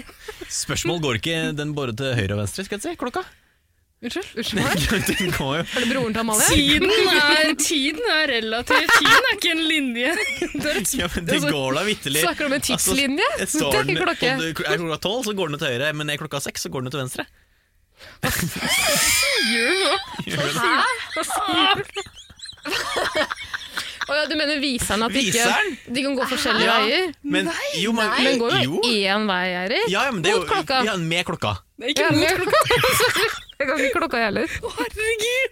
S4: Spørsmål går ikke den både til høyre og venstre, skal jeg si. Klokka.
S5: Unnskyld?
S4: Den går jo.
S1: Er det broren til Amalie?
S5: Tiden er, tiden er relativt. Tiden er ikke en linje. Det er et
S4: Ja, men det
S5: Altså,
S4: går da vitterlig.
S1: Snakker du om en tidslinje?
S4: Altså,
S1: Det er ikke klokke.
S4: Er klokka tolv, så går den til høyre, men er klokka seks, så går den til venstre.
S1: Å ja, du mener viseren? At de,
S4: Viseren?
S1: ikke, de kan gå forskjellige
S4: Ja.
S1: veier?
S4: Men, nei, jo, men,
S1: Den går jo
S4: jo.
S1: én vei, Eirik.
S4: Ja, ja, men det er jo,
S1: Mot klokka.
S4: Ja, med klokka.
S5: Det er
S1: Ja,
S5: ikke
S1: men-
S5: mot klokka.
S1: Jeg kan ikke klokka, jeg heller.
S5: Å, Herregud!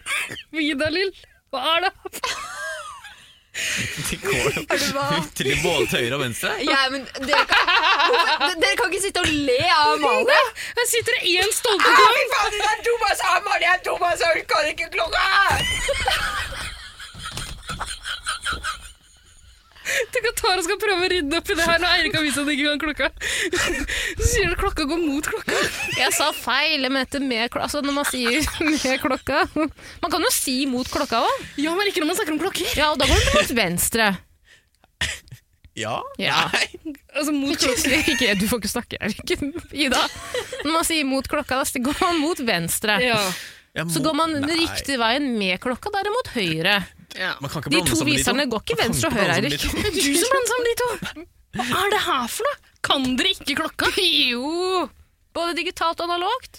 S5: Vidalil, hva er det?
S4: Det går jo
S2: hva?
S4: til både til høyre og venstre.
S2: Ja, men dere, kan, Hvorfor- dere kan ikke sitte og le av Amalie.
S5: Her sitter det én stolte kong!
S2: Det er Thomas og Amalie er Thomas, og hun kan ikke klokka!
S5: Tenk at Tara skal prøve å rydde opp i det her når Eirik har vist at han ikke kan klokka. Så sier han at klokka går mot klokka.
S1: Jeg sa feil. Jeg mente med klokka. Altså, når man sier med klokka Man kan jo si mot klokka òg.
S5: Ja, men ikke når man snakker om klokker.
S1: Ja, og da går den mot venstre.
S4: Ja.
S1: Ja.
S4: Nei.
S5: Altså mot klokka.
S1: Ikke, du får ikke snakke, Erik. Ida. Når man sier mot klokka, da går man mot venstre.
S5: Ja.
S4: Jeg
S1: Så
S4: må-
S1: går man
S4: Nei.
S1: riktig veien med klokka, derimot høyre.
S5: ja.
S4: Man kan ikke
S1: De
S4: blande
S1: to
S4: sammen de
S1: viserne går ikke
S4: Man kan
S1: venstre og
S4: ikke
S1: høyre,
S4: blande
S1: Eirik.
S4: sammen
S5: Det er
S4: de to.
S5: du som blander sammen de to. Hva er det her for noe? Kan dere ikke klokka?
S1: Jo! Både digitalt og analogt.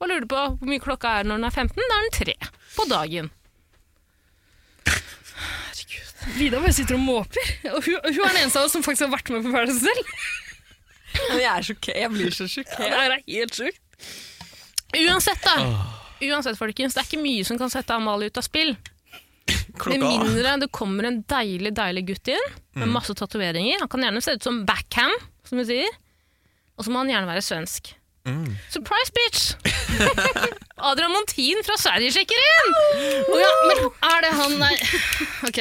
S1: Hva lurer du på hvor mye klokka er når den er 15? Da er den 3 på dagen.
S5: Vida bare sitter og måper. Og hun, hun er den eneste av oss som faktisk har vært med på Paradise selv.
S2: Men jeg, er sjokker, jeg blir så
S5: Det
S2: sjokkert.
S5: her er helt sjukt.
S1: Uansett, da. Uansett, folkens, det er ikke mye som kan sette Amalie ut av spill. Med
S4: Klokka
S1: mindre det kommer en deilig deilig gutt inn med masse tatoveringer. Han kan gjerne se ut som backham, som vi sier. Og så må han gjerne være svensk. Surprise, bitch! Adrian Montin fra Sverige sjekker inn!
S5: Å ja, men er det han Nei. Ok.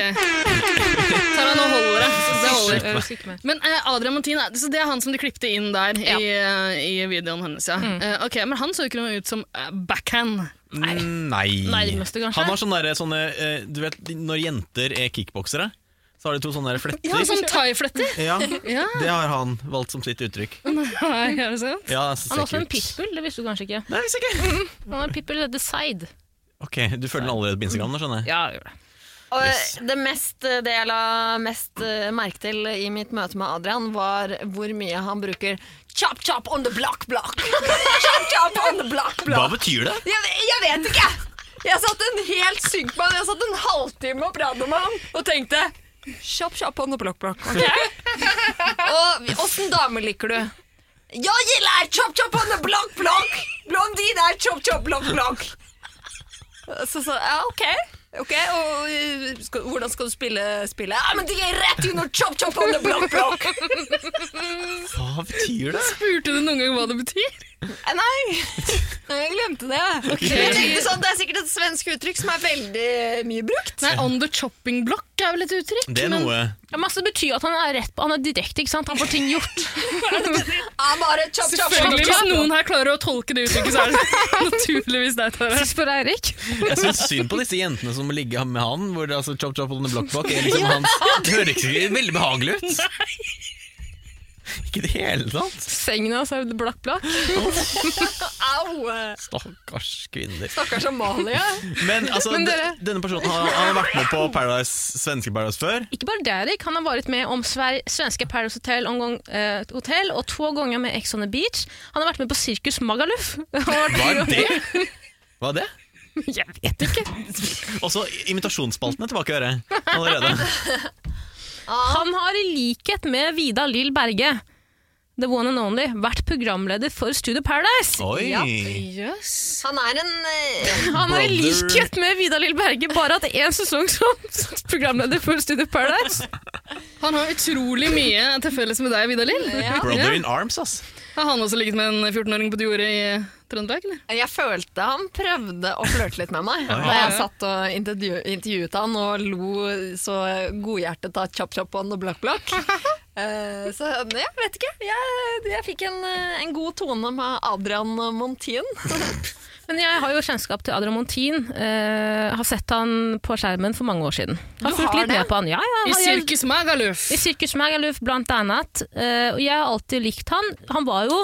S5: Tara, nå holder det. Det holder.
S1: Jeg husker ikke mer.
S5: Men eh, Adrian Montin, er- så det er han som de klippte inn der i, eh, i videoen hennes, ja. Eh, ok, Men han så ikke noe ut som eh, backhand.
S4: Nei.
S1: Nærmeste, kanskje?
S4: Han har sånne, der, sånne eh, Du vet når jenter er kickboksere, så har de to sånne der fletter.
S5: Ja, sånn thaifletter.
S4: Ja,
S5: Ja.
S4: Det har han valgt som sitt uttrykk.
S5: Nei, er det sant?
S4: Ja, så
S1: Han er
S4: ser
S1: også
S4: ikke
S1: en
S4: ut.
S1: pitbull, det visste du kanskje ikke.
S4: Nei, visst ikke.
S1: Han er en pitbull the side.
S4: Ok, Du følger den allerede på Instagram? nå, skjønner jeg
S1: Ja, gjør det.
S2: Og
S4: Yes.
S2: det, mest, det jeg la mest eh, merke til i mitt møte med Adrian, var hvor mye han bruker chop chop on the block block. chop chop on the block
S4: Hva
S2: block.
S4: betyr det?
S2: Jeg, jeg vet ikke! Jeg satt en helt syk på han, jeg satt en halvtime og pratet med han og tenkte Chop chop on the block block. ok? og åssen dame liker du? Jeg gillar chop chop on the block block! Blondine er chop chop block block. Så sa jeg ja, ok. Ok, og eh, skal, Hvordan skal du spille spillet? Ja, men det er rett under chop chop on the block block!
S4: Hva betyr det?
S5: Spurte du noen gang hva det betyr?
S2: Eh, Nei, jeg glemte det. Jeg tenkte sånn, Det er sikkert et svensk uttrykk som er veldig mye brukt.
S5: Nei, On the chopping block er vel et uttrykk?
S4: Det er
S5: men-
S4: noe
S1: Ja, masse betyr jo at han er rett på, han er direkte, ikke sant? Han får ting gjort.
S2: Jeg bare chop, chop, chop,
S5: Selvfølgelig, Hvis
S2: chop.
S5: noen her klarer å tolke det uttrykket, så er det naturligvis deg, Tara.
S1: Spør Eirik.
S4: Jeg syns synd på disse jentene som ligger med han. Hvor det, altså, chop, chop, on the block, block er liksom hans Det høres ikke veldig behagelig ut. Ikke i det hele tatt.
S1: Sengen hans er blakk, blakk.
S2: Au!
S4: Stakkars kvinner.
S2: Stakkars Amalie.
S4: Men altså,
S1: Men dere-
S4: de- denne personen har, han har vært med på Paradise, svenske Paradise før.
S1: Ikke bare det, Erik. Han har vært med om Sver svenske Paradise Hotel, om gang, eh, Hotel og to ganger med Ex on the Beach. Han har vært med på Sirkus Magaluf. Han har vært-
S4: Hva er det? Hva er det?
S1: Jeg vet ikke.
S4: Også imitasjonsspalten er tilbake i øret allerede.
S1: Han har i likhet med Vida Lill Berge, the one and only, vært programleder for Studio Paradise.
S4: Oi!
S2: Ja.
S5: Yes.
S2: Han er en eh,
S1: Han har i
S4: Brother.
S1: likhet med Vida Lill Berge bare hatt én sesong som programleder for Studio Paradise.
S5: Han har utrolig mye til felles med deg, Vidar Lill.
S4: Brother in arms, ass.
S5: Har han også ligget med en 14-åring på et jorde i Trøndelag, eller?
S2: Jeg følte han prøvde å flørte litt med meg da jeg satt og intervju intervjuet han og lo så godhjertet av chop chop on the block block. Eh, så jeg vet ikke. Jeg, jeg fikk en, eh, en god tone med Adrian Montin.
S1: Men jeg har jo kjennskap til Adrian Montin. eh, har sett han på skjermen for mange år siden. Har
S2: Du
S1: fulgt
S2: har
S1: litt
S2: det?
S1: med på han. Ja, ja,
S5: I
S1: han gjør-
S5: Sirkus Magaluf.
S1: I Sirkus Magaluf blant annet. eh, og jeg har alltid likt han. Han var jo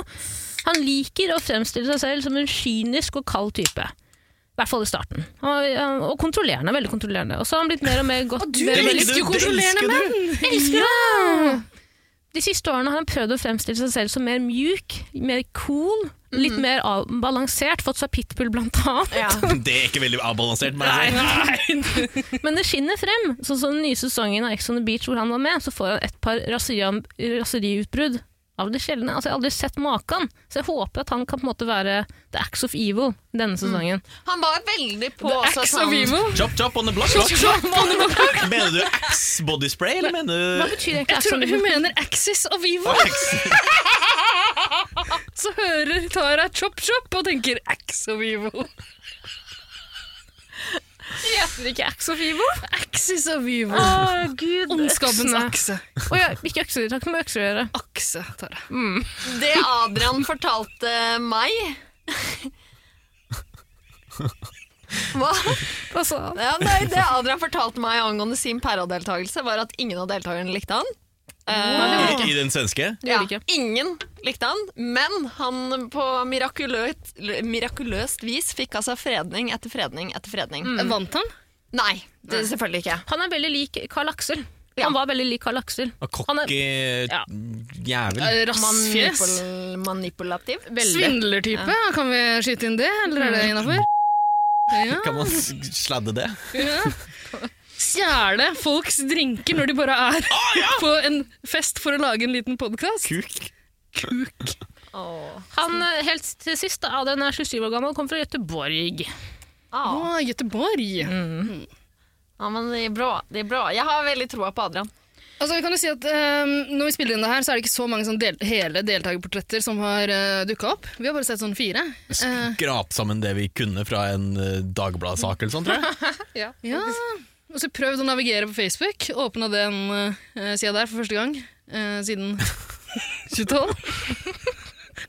S1: Han liker å fremstille seg selv som en kynisk og kald type. I hvert fall i starten. Han var, eh, og kontrollerende. Veldig kontrollerende. Og så har han blitt mer og mer godt
S5: du
S1: mer og mer-
S5: elsker jo kontrollerende
S4: menn!
S1: elsker han! De siste årene har han prøvd å fremstille seg selv som mer mjuk, mer cool, litt mer avbalansert. Fått seg pitbull, blant annet.
S4: Det er ikke veldig avbalansert. Men altså.
S1: Men det skinner frem. Sånn som den nye sesongen av Ex on the Beach hvor han var med, så får han et par raserian- raseriutbrudd av det sjeldne. Altså, jeg har aldri sett maken, så jeg håper at han kan på en måte være the acts of evil denne sesongen.
S2: Han var veldig på også
S5: Axe of
S2: sånn-
S5: Evil.
S4: Chop, chop on the block, block. Mener du axe body spray, eller mener
S1: Hva
S4: du
S1: betyr egentlig
S5: Jeg
S1: acts on
S5: tror
S1: the
S5: hun
S1: evil?
S5: mener Axis of Evil.
S4: Axe.
S5: Så hører Tara Chop Chop og tenker Axe of Evil.
S1: Heter det ikke acts of evil?
S5: Axis of Evil.
S1: Å, gud.
S5: Ondskapens
S1: øksene.
S5: akse. Mm.
S1: Å ja, ikke økser, det har ikke med økser å gjøre.
S5: Akse, Tara.
S2: Det Adrian fortalte meg Hva?
S1: Hva sa han?
S2: Ja, nei, det Adrian fortalte meg angående sin Perra-deltakelse, var at ingen av deltakerne likte han. Eh,
S4: I den svenske?
S1: Det gjorde
S2: ja,
S1: ikke.
S2: ingen likte han, men han på mirakuløst, mirakuløst vis fikk altså fredning etter fredning etter fredning.
S1: Mm.
S5: Vant han?
S2: Nei, det, selvfølgelig ikke.
S1: Han er veldig lik Carl Axel.
S2: Ja.
S1: Han var veldig lik Carl Axel.
S4: Og
S1: Han er
S4: Cocky
S1: Ja.
S4: jævel.
S5: Rassfjes.
S2: Manipul- manipulativ.
S5: Svindlertype. Kan vi skyte Mm. inn det, eller er det innafor? Ja.
S4: Kan man s- sladde det?
S5: Ja. stjele folks drinker når de bare er på en fest for å lage en liten podkast.
S4: Kuk.
S2: Åh.
S1: Han eh, helt til sist, da, Adrian er 27 år gammel, kom fra Gøteborg.
S5: Å,
S2: Ah.
S5: Göteborg.
S2: Ja, men det er bra. Det er bra. Jeg har veldig troa på Adrian.
S5: Altså, vi kan jo si at ehm, Når vi spiller inn det her, så er det ikke så mange sånn del hele deltakerportretter som har uh, dukka opp. Vi har bare sett sånn fire. Eh,
S4: Skrap sammen det vi kunne fra en eh, Dagbladet-sak eller sånn, tror jeg.
S5: ja. Og så prøvd å navigere på Facebook. Åpna den uh, sida der for første gang eh, siden 2012.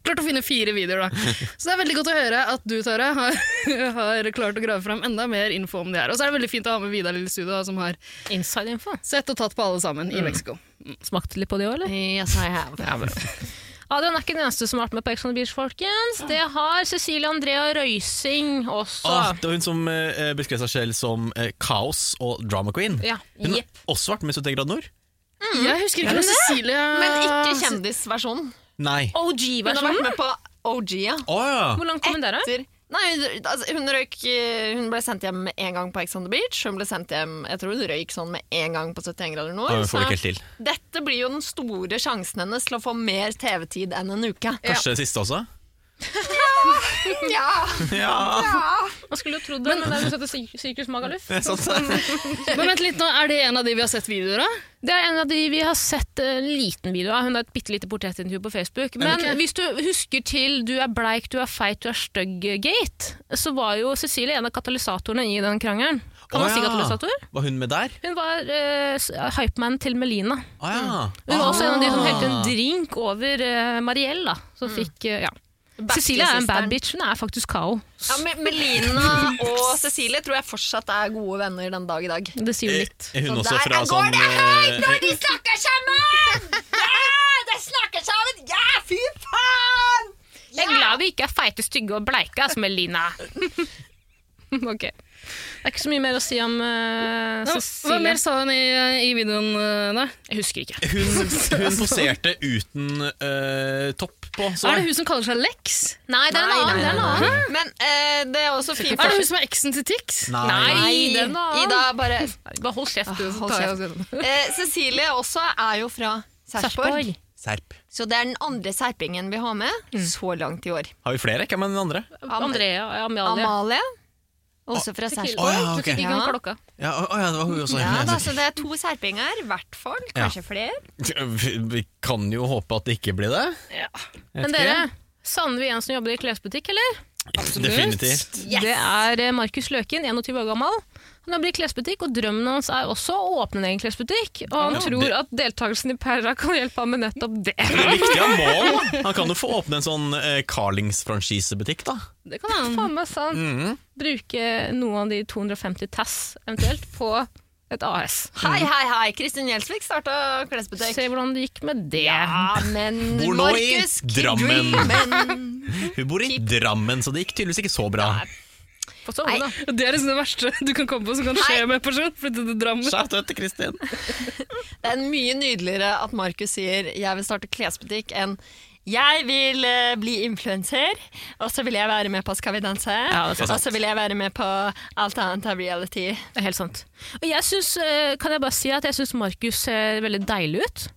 S5: klart å finne fire videoer, da. Så det er veldig godt å høre at du, Tara, har, har klart å grave fram enda mer info om det her. Og så er det veldig fint å ha med Vidar Lille Studio, som har
S1: Inside-info.
S5: sett og tatt på alle sammen
S2: Mm.
S5: i Mexico.
S1: Smakte litt på det òg, eller?
S2: Yes, I have.
S1: Adrian er ikke den eneste som har vært med på Ex on the Beach, folkens. Det har Cecilie Andrea Røising også.
S4: Ah, det var hun som eh, beskrev seg selv som eh, kaos og drama queen.
S1: Ja.
S4: Hun
S1: Jepp.
S4: har også vært med i 71 grad nord.
S2: Mm.
S5: Jeg husker ikke noe Cecilia
S2: Men
S1: Ah,
S2: ikke kjendisversjonen.
S4: Nei. Å
S2: Hun har vært
S1: OG-versjonen.
S2: med på OG, ja.
S4: ja!
S1: Hvor langt kom hun der, da?
S2: Etter- Nei, hun- altså, hun, røyk, eh, hun ble sendt hjem med en gang på Ex on the Beach. Hun ble sendt hjem, jeg tror hun røyk sånn med en gang på 71 grader nord.
S4: Ja, hun får det
S2: så
S4: ikke helt til.
S2: dette blir jo den store sjansen hennes til å få mer TV-tid enn en uke.
S4: Kanskje det siste også?
S2: Ja,
S4: Ja!
S1: Man skulle jo trodd det, men det er jo sånn at det er Sirkus Magaluf.
S4: Det er sant.
S5: Men vent litt nå, Er det en av de vi har sett videoer av?
S1: Det er en av de vi har sett eh, en liten video av. Hun har et bitte lite portrettintervju på Facebook. Men
S4: ok.
S1: hvis du husker til 'du er bleik, du er feit, du er stygg'-gate, så var jo Cecilie en av katalysatorene i den krangelen. Kan man
S4: Å,
S1: si
S4: ja.
S1: katalysator?
S4: Var hun med der?
S1: Hun var uh, hypeman til Melina.
S4: Å ja.
S1: Mm. Hun var også en av de som helte en
S4: Ah.
S1: drink over eh, Marielle, da, som fikk eh, ja. Cecilie er en bad bitch. Hun er faktisk Kao.
S2: Ja, men Melina og Cecilie tror jeg fortsatt er gode venner den dag i dag.
S1: Det sier jo
S4: Eh,
S1: litt.
S4: Er hun
S2: Så
S4: også
S2: der
S4: fra
S2: er- går
S4: sånn
S2: det høyt
S4: eh,
S2: de snakker sammen! Ja, de snakker sammen! Ja, fy faen!
S1: Jeg er glad vi ikke er feite, stygge og bleike altså, som Melina. ok. Det er ikke så mye mer å si om eh,
S5: Hva
S1: Cecilie.
S5: mer sa hun i, i videoen? eh, da?
S1: Jeg husker ikke.
S4: hun, hun poserte uten eh, topp på. Så.
S5: Er det hun som kaller seg Lex?
S1: Nei, det er en annen. det er en annen.
S2: Men eh, det er også fint
S5: Er det hun som er eksen til Tix?
S1: Nei. det er en annen.
S2: Ida bare
S1: Bare Ah, hold kjeft, du. så
S2: Hold
S1: tar jeg-
S2: kjeft. Eh, Cecilie også er jo fra Sarpsborg,
S1: Sarpsborg.
S4: Serp.
S2: så det er den andre serpingen vi har med så langt i år.
S4: Har vi flere? Hvem er den andre?
S2: Am-
S1: Andrea og Amalie.
S2: Amalie, også fra
S1: Tequila.
S2: Sarpsborg.
S4: ja,
S1: Fikk ikke
S2: Ja.
S1: han klokka.
S4: Ja, å, å ja, det var hun også.
S2: Ja, da, så det er to serpinger, i hvert fall. Kanskje flere.
S4: Vi vi kan jo håpe at det ikke blir det. Jeg
S1: Men
S4: vet
S1: dere, savner vi en som jobber i klesbutikk, eller?
S4: ikke. Definitivt.
S1: Det er eh, Markus Løken, 21 år gammel. Han jobber i klesbutikk, og drømmen hans er også å åpne en egen klesbutikk. Og han
S4: Ja,
S1: tror
S4: det-
S1: at deltakelsen i Perra kan hjelpe ham med nettopp det.
S4: Riktig av mål! Han kan jo få åpne en sånn eh, Carlings-franchisebutikk, da.
S5: Det kan han.
S1: Faen meg sant. Bruke noen av de 250 tass eventuelt på et AS.
S2: Hei, hei, hei! Kristin Gjelsvik starta klesbutikk.
S1: Se hvordan det gikk med det.
S2: Ja, men
S4: Bor nå i
S2: Markus
S4: Drammen.
S2: Dreamen.
S4: Hun bor i Drammen, så det gikk tydeligvis ikke så bra.
S1: På sånn, da.
S5: Og Det er liksom det verste du kan komme på som kan skje med en person. Flytte til Drammen.
S4: Shout out til Kristin.
S2: Det er mye nydeligere at Markus sier 'jeg vil starte klesbutikk' enn 'jeg vil eh, bli influenser', og så vil jeg være med på 'Skal vi danse',
S1: Ja, det er sant.
S2: og så vil jeg være med på alt annet av reality.
S1: Det er helt sant. Og jeg synes, eh, kan jeg bare si at jeg syns Markus ser veldig deilig ut.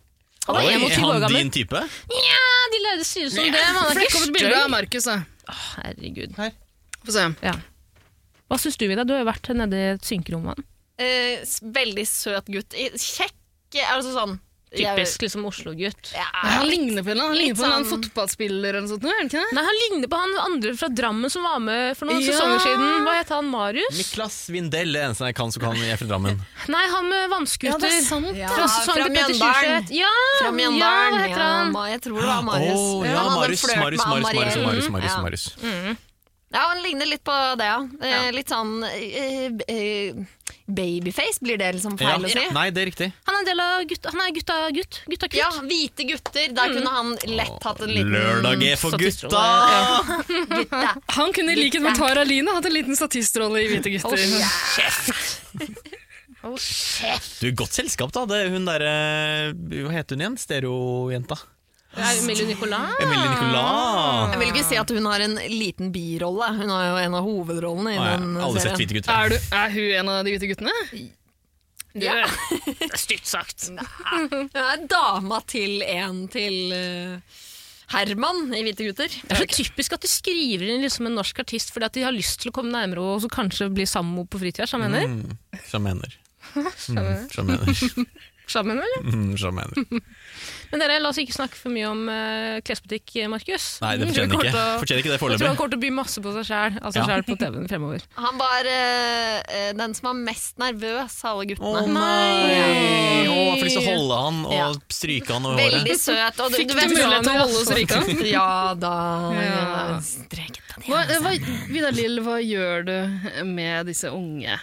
S1: Han
S4: Oi,
S1: er
S4: er
S1: 21 år
S4: han
S1: gammel.
S4: din type?
S1: Ja, de lærde sier som det, men han er
S5: Flekk opp et
S1: ikke
S5: bilde av
S1: stygg.
S5: Markus, da.
S1: Herregud.
S5: Få se.
S1: Ja. Hva syns du, Vida? Du har jo vært nede i et synkerom med han.
S2: Eh, s- veldig søt gutt. I- Kjekk eh, Altså sånn jeg-
S1: Typisk liksom Oslo-gutt.
S2: Ja.
S5: Han ligner på en eller annen, han ligner
S2: litt
S5: på en eller annen
S2: sånn-
S5: fotballspiller eller noe sånt. nå, Er det ikke det?
S1: Nei, Han ligner på han andre fra Drammen som var med for noen
S5: Ja.
S1: sesonger siden. Hva het han? Marius?
S4: Niklas Vindell, det eneste jeg kan som kan jeg er fra Drammen.
S1: Nei, han med
S5: Ja, det
S1: vannskuter.
S5: er sant.
S2: Ja,
S1: Fra sesongen
S2: fra
S1: til Petter
S2: Mjøndalen.
S1: Sjuseth. Ja,
S2: Fra
S1: ja,
S2: Mjøndalen.
S1: hva heter han?
S2: ma- jeg tror det var Marius.
S4: Å,
S2: Han
S4: ja,
S2: hadde en
S4: Marius,
S2: flørt
S4: Marius,
S2: med
S4: Marius, Marius,
S2: Mariell.
S4: Marius,
S2: Mm,
S4: Marius,
S2: ja.
S4: Marius.
S2: Ja, han ligner litt på det, ja. Eh, Litt sånn eh, eh, Babyface blir det liksom
S4: Ja.
S2: feil å si.
S4: Nei, det er riktig.
S1: Han er en del av gutta, han er gutta gutt. Gutta kutt.
S2: Ja, hvite gutter. Der kunne han lett hatt en liten
S4: Lørdag er for
S1: Statistrolle.
S4: gutta!
S2: Gutta.
S5: Han kunne i likhet med Tara Line hatt en liten statistrolle i Hvite gutter.
S4: Du, godt selskap, da. Det er hun derre Hva heter hun igjen? Stereojenta.
S1: Det er Emilie Nicolas.
S4: Emilie Nicolas.
S2: Jeg vil ikke si at hun har en liten birolle. Hun har jo en av hovedrollene i
S4: Å, ja.
S2: den
S4: Alle har sett
S2: serien.
S4: Hvite gutter.
S5: Er, du, er hun en av de hvite guttene?
S2: Ja.
S1: Stygt sagt.
S2: Hun er dama til en til eh, Herman i Hvite gutter.
S1: Det er så typisk at de skriver inn liksom en norsk artist fordi at de har lyst til å komme nærmere og så kanskje bli sammo på fritida. Sjamener?
S4: Mm, Sjamener. Mm, Sjamener.
S1: Sammen, eller?
S4: Mm, sjamener.
S1: Men dere, la oss ikke snakke for mye om eh, klesbutikk, eh, Markus.
S4: Nei, det fortjener
S1: Kommer
S4: ikke,
S1: til å-
S4: fortjener ikke det
S1: Jeg tror han
S4: foreløpig.
S1: kommer til å by masse på seg sjæl av
S4: Ja.
S1: seg selv på TV-en fremover.
S2: Han var eh, eh, den som var mest nervøs av alle
S4: Å
S2: guttene.
S4: nei! Å, jeg får lyst til å holde han og
S2: Ja.
S4: stryke han over håret.
S2: Veldig søt. Og
S5: Fikk du mulighet til å holde oss rika?
S2: Ja da.
S5: Ja.
S2: Streket på
S5: Hva, hva, Vidar Lill, hva gjør du med disse unge,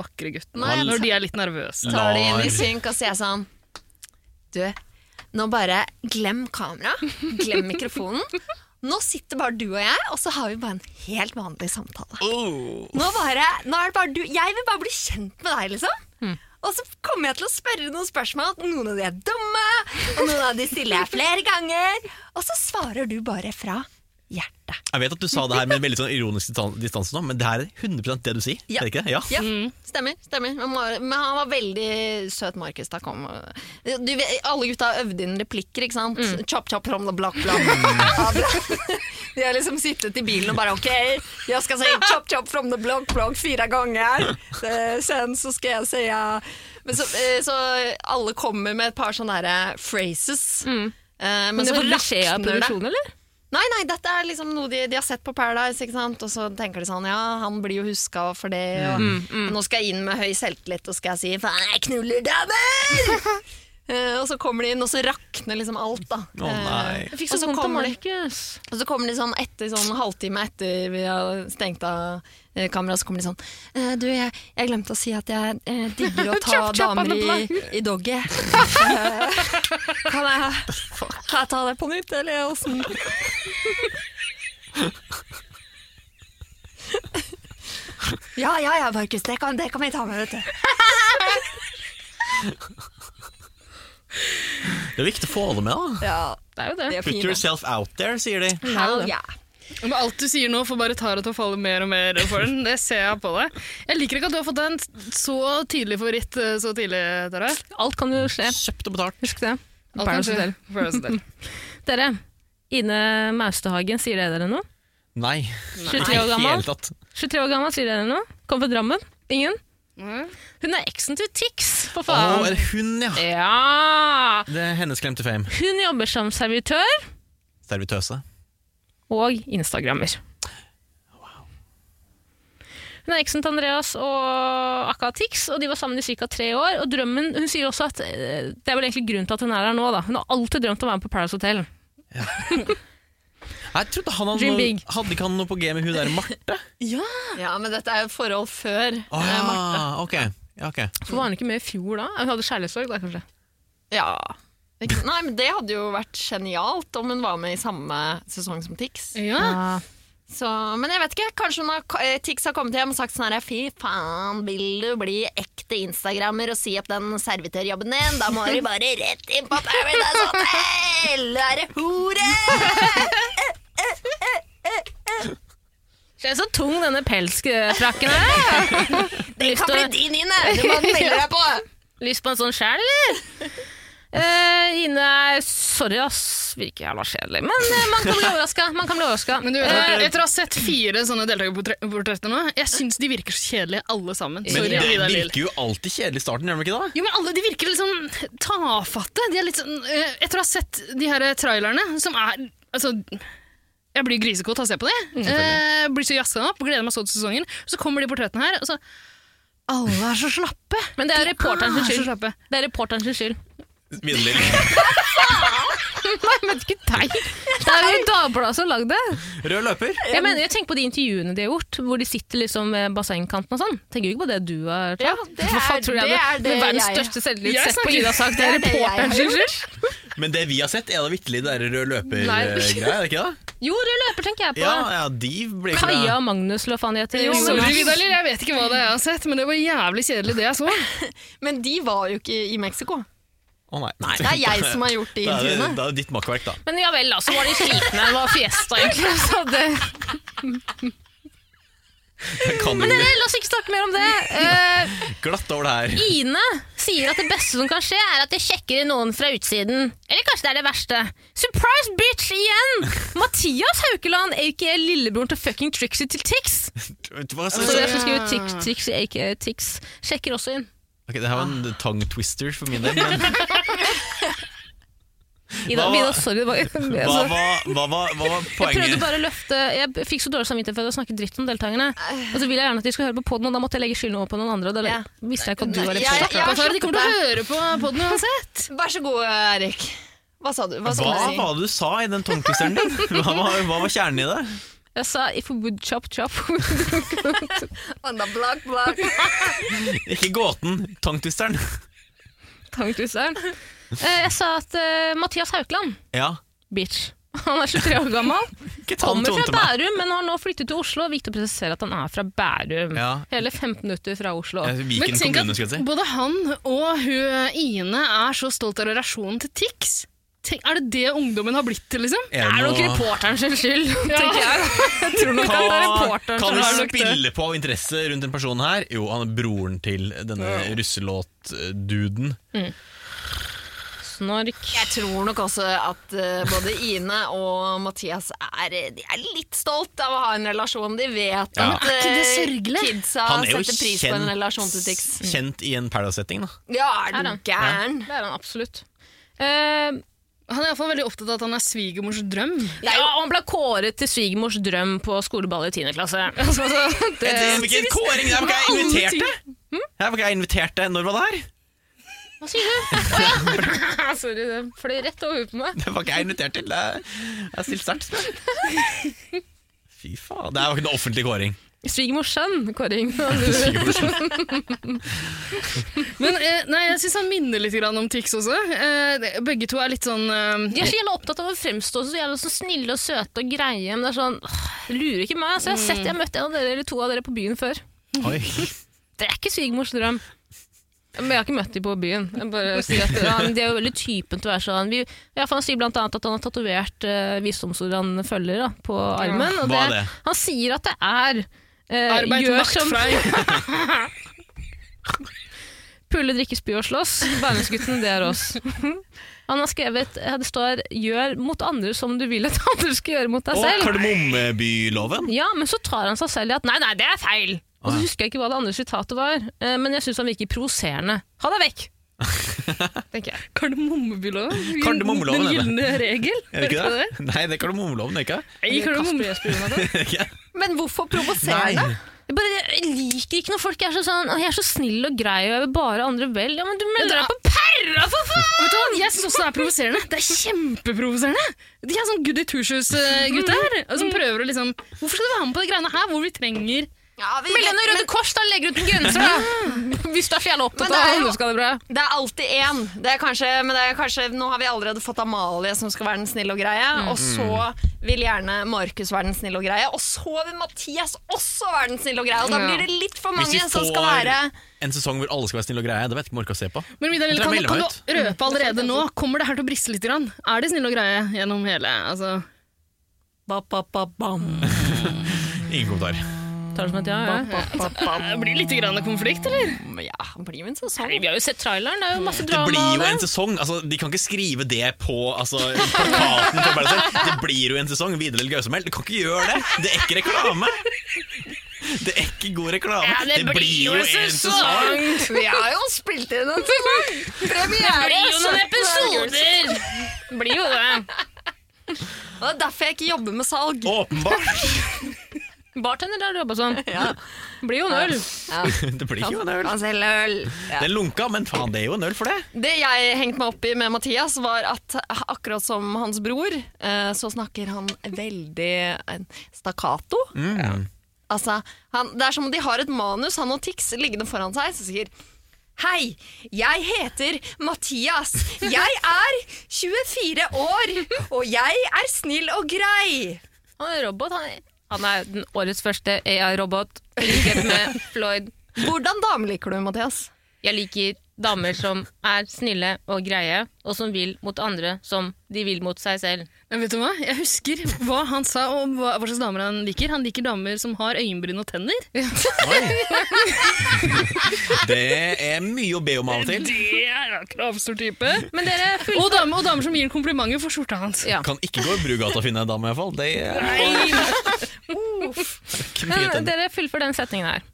S5: vakre guttene
S2: Nei,
S5: når
S1: altså-
S5: de er litt nervøse?
S2: tar de inn i
S4: Lar.
S2: synk og sier sånn Du, nå bare glem kamera, glem mikrofonen. Nå sitter bare du og jeg, og så har vi bare en helt vanlig samtale.
S4: Oh.
S2: Nå, bare, nå er det bare du Jeg vil bare bli kjent med deg, liksom. Og så kommer jeg til å spørre noen spørsmål. Noen av de er dumme, og noen av de stiller jeg flere ganger. Og så svarer du bare fra hjertet.
S4: Jeg vet at du sa det her med en veldig sånn ironisk distan- distanse, nå, men det her er 100 det du sier.
S2: Ja.
S4: Er det ikke det? Ja.
S2: Ja,
S1: Mm.
S2: stemmer. stemmer. Men, må- men han var veldig søt, Markus. da kom. Du, vet- alle gutta øvde inn replikker, ikke sant?
S1: Mm.
S2: Chop, chop, rom, da, blakk, blakk. Ja, bra. De har liksom sittet i bilen og bare OK, jeg skal si chop, chop from the block, block fire ganger. Eh, Sen så skal jeg si ja. Men så, eh, så alle kommer med et par sånne der phrases. Eh, Men,
S1: Mm. Men det
S2: så
S1: får beskjed av
S2: rakner det.
S1: produksjonen, eller?
S2: Nei, nei, dette er liksom noe de, de har sett på Paradise, ikke sant? Og så tenker de sånn, ja, han blir jo huska for det, og
S4: Mm.
S2: nå skal jeg inn med høy selvtillit, og skal jeg si, faen, jeg knuller damer! Eh, og så kommer de inn, og så rakner liksom alt, da.
S4: Å nei.
S1: Jeg fikk
S2: Og
S1: så
S2: så
S1: vondt av
S2: kommer de-
S1: Altså, Markus.
S2: Og så kommer de sånn etter, sånn halvtime etter vi har stengt av eh, kameraet, så kommer de sånn «Eh, Du, jeg, jeg glemte å si at jeg eh, digger å ta
S1: Chop, chop on
S2: damer
S1: the
S2: i, i doggy. Eh, kan, jeg, kan jeg sånn? ta det på nytt, eller åssen? Ja, ja, ja, Markus. Det kan, det kan vi ta med, vet du.
S4: Det er viktig å få alle med, da.
S2: Ja,
S1: Det er jo det.
S2: det er
S4: Put
S2: fint.
S4: yourself out there, sier de.
S2: Hell yeah.
S5: Men alt du sier nå, får bare Tara til å falle mer og mer for den. Det ser jeg på deg. Jeg liker ikke at du har fått deg en så tydelig favoritt eh, så tidlig, Tara.
S1: Alt kan jo skje.
S4: Kjøpt og betalt.
S1: Husk det.
S5: Alt kan
S1: Paradise
S5: skje.
S1: Hotel.
S5: Paradise Hotel.
S1: Dere, Ine Maustehagen, sier det dere noe?
S4: Nei.
S1: 23 år
S4: Nei,
S1: gammel.
S4: helt tatt.
S1: 23 år gammel, sier dere noe? Kom fra Drammen? Ingen?
S5: Nei.
S1: Hun er eksen til Tix, for
S4: Å,
S1: faen.
S4: er det hun, ja?
S1: Ja!
S4: Det er hennes klem til fame.
S1: Hun jobber som servitør
S4: Servitøse.
S1: og instagrammer. Hun er eksen til Andreas og Akka Tix, og de var sammen i ca. tre år. Og drømmen, Hun sier også at eh, det er vel egentlig grunnen til at hun er her nå. da. Hun har alltid drømt om å være med på Paradise Hotel.
S4: Jeg trodde han hadde,
S1: Dream
S4: noe,
S1: big.
S4: hadde ikke han noe på G med hun der Marte?
S2: Ja, men dette er jo et forhold før.
S4: Å
S2: eh, Marte.
S4: ja, Ah, ok. Ja, ok.
S1: For Var hun ikke med i fjor da? Hun hadde kjærlighetssorg da, kanskje.
S2: Ja. Ikke, nei, men Det hadde jo vært genialt om hun var med i samme sesong som Tix.
S5: Ja.
S2: Så, men jeg vet ikke, kanskje hun har, eh, Tix har kommet hjem og sagt sånn her Fy faen, vil du bli ekte instagrammer og si opp den servitørjobben din? Da må du bare rett inn på Paradise Hotel! Du er en hore!
S1: Se så tung denne pelsfrakken er!
S2: Den kan bli din, Ine! Du må melde deg på!
S1: Lyst på en sånn sjæl, eller? Eh, Ine er sorry, ass. Virker jævla kjedelig. Men eh, man kan bli overraska. Man kan bli overraska.
S5: Men du, eh, etter å ha sett fire sånne deltakerportretter nå, jeg syns de virker så kjedelige alle sammen.
S4: Men
S5: Sorry,
S4: det
S5: Vidar Lill.
S4: virker jo alltid kjedelig i starten, gjør det ikke det?
S5: Jo, men alle de virker litt sånn tafatte. De er litt sånn, eh, etter å ha sett de her eh, trailerne, som er Altså, jeg blir grisekåt av å se på de. Eh, blir så jazza opp, gleder meg så til sesongen. Så kommer de portrettene her, og så Alle er så slappe!
S1: Men det er reporteren
S2: Ah.
S1: sin
S5: Er så
S1: skyld.
S5: slappe.
S1: Det er reporteren sin skyld.
S4: Videre.
S1: Nei, men ikke deg! Det er jo Dagbladet som har lagd det.
S4: Rød løper.
S1: Jeg, mener, jeg tenker på de intervjuene de har gjort, hvor de sitter liksom ved bassengkanten og sånn. Tenker jo ikke på det du har
S2: Ja, det
S1: Hva faen
S2: er-
S1: tror du jeg
S2: det
S1: hadde-
S2: er det
S1: med verdens
S2: jeg-
S1: største selvtillit
S5: Jeg
S1: sett på
S5: snakker-
S1: Ida sak. Det er
S2: det er det jeg har
S1: reporteren sin skyld.
S4: Men det vi har sett, er da vitterlig det der rød
S1: Nei.
S4: løper-greia, er det ikke det?
S1: Jo, rød løper tenker jeg på.
S4: Ja, ja, de ble ikke
S1: Kaja og Magnus, eller hva faen de heter.
S5: Jo, men-
S1: Jonas.
S5: Sorry, Vidar Lill, jeg vet ikke hva det er jeg har sett, men det var jævlig kjedelig, det jeg så.
S2: Men de var jo ikke i Mexico.
S4: Å nei. nei.
S2: Det er jeg som har gjort de
S4: Da er det-
S2: intervjuene.
S4: Da er det ditt makkverk, da.
S1: Men ja vel, da, så var de slitne. Det var fiesta, egentlig. Så det...
S4: Jeg kan
S1: Men
S4: ikke.
S1: dere, la oss ikke snakke mer om det. Eh,
S4: Glatt over det her.
S1: Ine sier at det beste som kan skje, er at jeg sjekker inn noen fra utsiden. Eller kanskje det er det verste. Surprise bitch igjen! Mathias Haukeland, aka lillebroren til fucking Trixie til Tix.
S4: Vet du hva, så-
S1: Så jeg som skriver Tix, Trixie, aka Tix, sjekker også inn.
S4: Ok, det her var en tongue twister for min del. Men
S1: Ida,
S4: Hva-
S1: Ida sorry. Det var, altså,
S4: hva var, hva var, hva var
S1: jeg prøvde
S4: poenget?
S1: bare å løfte Jeg fikk så dårlig samvittighet for å snakke dritt om deltakerne. Og så vil jeg gjerne at de skal høre på podden, og da måtte jeg legge skylden over på noen andre. Og da
S2: Ja.
S1: visste jeg ikke at du var
S2: Nei,
S1: representant.
S2: jeg-
S5: Hva er det de kommer til å høre på podden uansett?
S2: Vær så god, Erik. Hva sa du? Hva
S4: Hva
S2: skulle jeg si?
S4: var det du sa i den tongue twisteren din? Hva var, hva var kjernen i det?
S1: Jeg sa 'if we would chop chop'.
S2: On the block, block.
S4: Ikke gåten, tongue twisteren.
S1: Tanktuseren. Jeg sa at eh, Mathias Haukeland,
S4: Ja.
S1: bitch. Han er 23 år gammel.
S4: Ikke ta
S1: Kommer
S4: den
S1: fra
S4: tonen til meg.
S1: Bærum, men har nå flyttet til Oslo. Viktig å presisere at han er fra Bærum.
S4: Ja.
S1: Hele 15 minutter fra Oslo.
S4: Eh, Viken
S5: tenk
S4: kommune,
S5: at
S4: skulle jeg si.
S5: både han og hun Ine er så stolt av relasjonen til Tix. Tenk, er det det ungdommen har blitt til, liksom?
S1: Det er nok reporteren sin skyld, tenker jeg. Jeg tror nok at det er reporteren
S4: Kan
S1: som har
S4: vi
S1: nok det.
S4: spille på interesse rundt en person her? Jo, han er broren til denne russelåt-duden.
S1: Snork.
S2: Jeg tror nok også at eh, både Ine og Mathias er, eh, de er litt stolt av å ha en relasjon. De vet
S4: Ja.
S2: at
S5: Men er ikke det
S2: eh,
S5: sørgelig?
S2: kidsa
S4: Han er jo
S2: setter pris på en relasjon til Tix.
S4: kjent, kjent i en Paradise-setting, da.
S2: Ja, er
S1: Er
S2: du
S1: han?
S2: gæren?
S1: Det er han absolutt. Eh,
S5: Han er iallfall veldig opptatt av at han er svigermors drøm.
S1: ja, og han ble kåret til svigermors drøm på skoleball i 10. klasse. Altså, det,
S4: Det er ikke en kåring, det er ikke jeg inviterte! Hm? Det er ikke jeg inviterte. Når var det her?
S1: hva sier du? Å, ja. Ah, Sorry, det fløy rett over på meg.
S4: Det var ikke jeg invitert til. Det er- Jeg har stilt sterkt spørsmål. Fy faen. Det er jo ikke noe offentlig kåring.
S1: Svigermors sønn, kåring. Du-
S5: Men eh, nei, jeg syns han minner litt grann om Tix også. Eh, det- begge to er litt sånn
S1: De
S5: eh,
S1: er så jævla opptatt av å fremstå så jævla så snille og søte og greie. Men det er sånn, åh, lurer ikke meg. Så jeg har sett, jeg har møtt en av dere eller to av dere på byen før.
S4: Oi.
S1: Det er ikke svigermors drøm. Men jeg har ikke møtt de på byen. Jeg bare sier at han, De er jo veldig typen til å være sånn. Vi, ja, for han sier blant annet at han har tatovert uh, visdomsord han følger da, på armen. Og
S4: Hva er det?
S1: Han sier at det er eh,
S5: arbeid,
S1: gjør
S5: makt,
S1: som
S5: frei.
S1: pulle, drikke, spy og slåss. Bærumsgutten, det er oss. Han har skrevet eh, det står 'gjør mot andre som du vil at andre skal gjøre mot deg
S4: Og
S1: selv'.
S4: Kardemommebyloven.
S1: Ja, men så tar han seg selv i at nei, nei, det er feil. Og
S4: Å,
S1: så
S4: ja.
S1: husker jeg ikke hva det andre sitatet var, eh, men jeg syns han virker provoserende. Ha deg vekk! tenker jeg.
S5: Kardemommebyloven? Den
S4: Kardemommeloven, er det.
S5: gylne regel?
S4: Er det ikke
S5: Hørte du
S4: det? Nei, det er kardemommeloven, det er ikke
S5: Nei, kardemomme-
S4: det?
S2: Men hvorfor provoserende?
S1: Jeg, bare, jeg liker ikke når folk er så sånn «Å, 'Jeg er så snill og grei, og jeg vil bare andre vel'. Ja, men du
S5: Ja,
S1: melder
S5: det
S1: deg på perra, for faen!
S5: Vet du hva, Jeg syns også det er provoserende. Det er kjempeprovoserende! De er sånn Goody Two-Shoes-gutter
S1: Mm.
S5: som prøver å liksom Hvorfor skal du være med på de greiene her hvor vi trenger
S2: Ja, vi
S1: Meld
S2: vet,
S1: deg inn i Røde
S2: men
S1: Kors, da! Legger ut en grenser, da! Hvis du er så jævla
S2: Men
S1: opptatt
S2: det
S1: av
S2: er jo-
S1: andre skal ha det bra.
S2: det er alltid én. Det er kanskje, men det er kanskje, nå har vi allerede fått Amalie som skal være den snille og greie, og så vil gjerne Markus være den snille og greie, og så vil Mathias også være den snille og greie, og da
S5: Ja.
S2: blir det litt for
S4: Hvis vi
S2: mange som skal
S4: får
S2: være
S4: en sesong hvor alle skal være snille og greie, det vet jeg ikke om jeg orker å se på.
S5: Men Vidar,
S4: Dere
S5: kan,
S4: melder
S5: kan
S4: meg
S5: du røpe allerede nå? Kommer det her til å briste litt? Grann? Er de snille og greie gjennom hele altså,
S4: Ingen kommentar.
S1: Tar det som et ja, ja.
S5: Det blir litt grann konflikt, eller?
S2: Ja, han blir jo en sånn- sesong.
S1: Vi har jo sett traileren, det er jo masse
S4: Det
S1: drama.
S4: blir jo
S1: av
S4: en sesong. Altså, de kan ikke skrive det på altså, plakaten. på bare seg. Det blir jo en sesong. Videre eller Gausemel. Du kan ikke gjøre det! Det er ikke reklame! Det er ikke god reklame.
S1: Ja, det blir jo en
S2: Vi har jo spilt inn en sesong! Premiere! altså.
S1: Det blir jo noen episoder! Det blir jo det.
S2: Og det er derfor jeg ikke jobber med salg.
S4: Åpenbart!
S1: Bartender har jobba sånn. Blir jo en øl.
S4: Det blir jo en øl.
S2: Han selger øl. Altså, Ja.
S4: Den lunka, men faen, det er jo en øl for det.
S2: Det jeg hengte meg opp i med Mathias, var at akkurat som hans bror, eh, så snakker han veldig eh, stakkato.
S4: Mm.
S2: Altså, han, det er som om de har et manus, han og Tix, liggende foran seg, som sier Hei, jeg heter Mathias. Jeg er 24 år, og jeg er snill og grei.
S1: Han er robot. Han er, han er den årets første AI-robot. i likhet Med Floyd.
S2: Hvordan dame liker du, Mathias?
S1: Jeg liker damer som er snille og greie, og som vil mot andre som de vil mot seg selv.
S5: Men vet du hva? Jeg husker hva han sa om hva, hva slags damer han liker. Han liker damer som har øyenbryn og tenner.
S4: Oi. Det er mye å be om av og til.
S5: Det er en kravstor type.
S1: Men dere, full...
S5: Og damer, og damer som gir komplimenter for skjorta hans.
S1: Ja.
S4: Kan ikke gå i Brugata og finne en dame, iallfall. Det er ikke mye
S1: Men
S4: tenner.
S1: eh, dere fullfør den setningen her.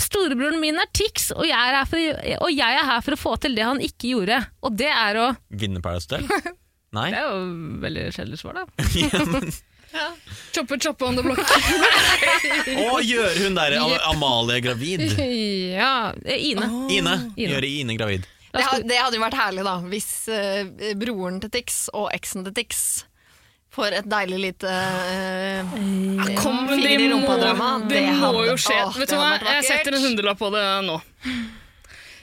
S1: Storebroren min er Tix, og jeg er, her for, og jeg er her for å få til det han ikke gjorde. Og det er å
S4: Vinne Paradise Hotel? Nei?
S1: Det er jo veldig kjedelig svar, da.
S4: Ja, men-
S5: Choppe, choppe on the block.
S4: Å, gjør hun der Am- Amalie gravid?
S1: Ja, eh, Ine.
S4: Ine.
S1: Ine.
S4: Gjøre Ine gravid.
S1: La
S2: Det,
S1: oss
S2: ha- det hadde jo vært herlig, da, hvis eh, broren til Tix og eksen til Tix får et deilig lite eh,
S5: Kom, men
S2: Finger
S5: det
S2: i
S5: må,
S2: rumpa-drømma,
S5: det
S2: det
S5: må
S2: hadde-
S5: jo skje.
S2: Åh, det
S5: Vet du hva?
S2: hadde vært
S5: Jeg setter en
S2: vakkert. hundrelapp
S5: hundrelapp på det nå.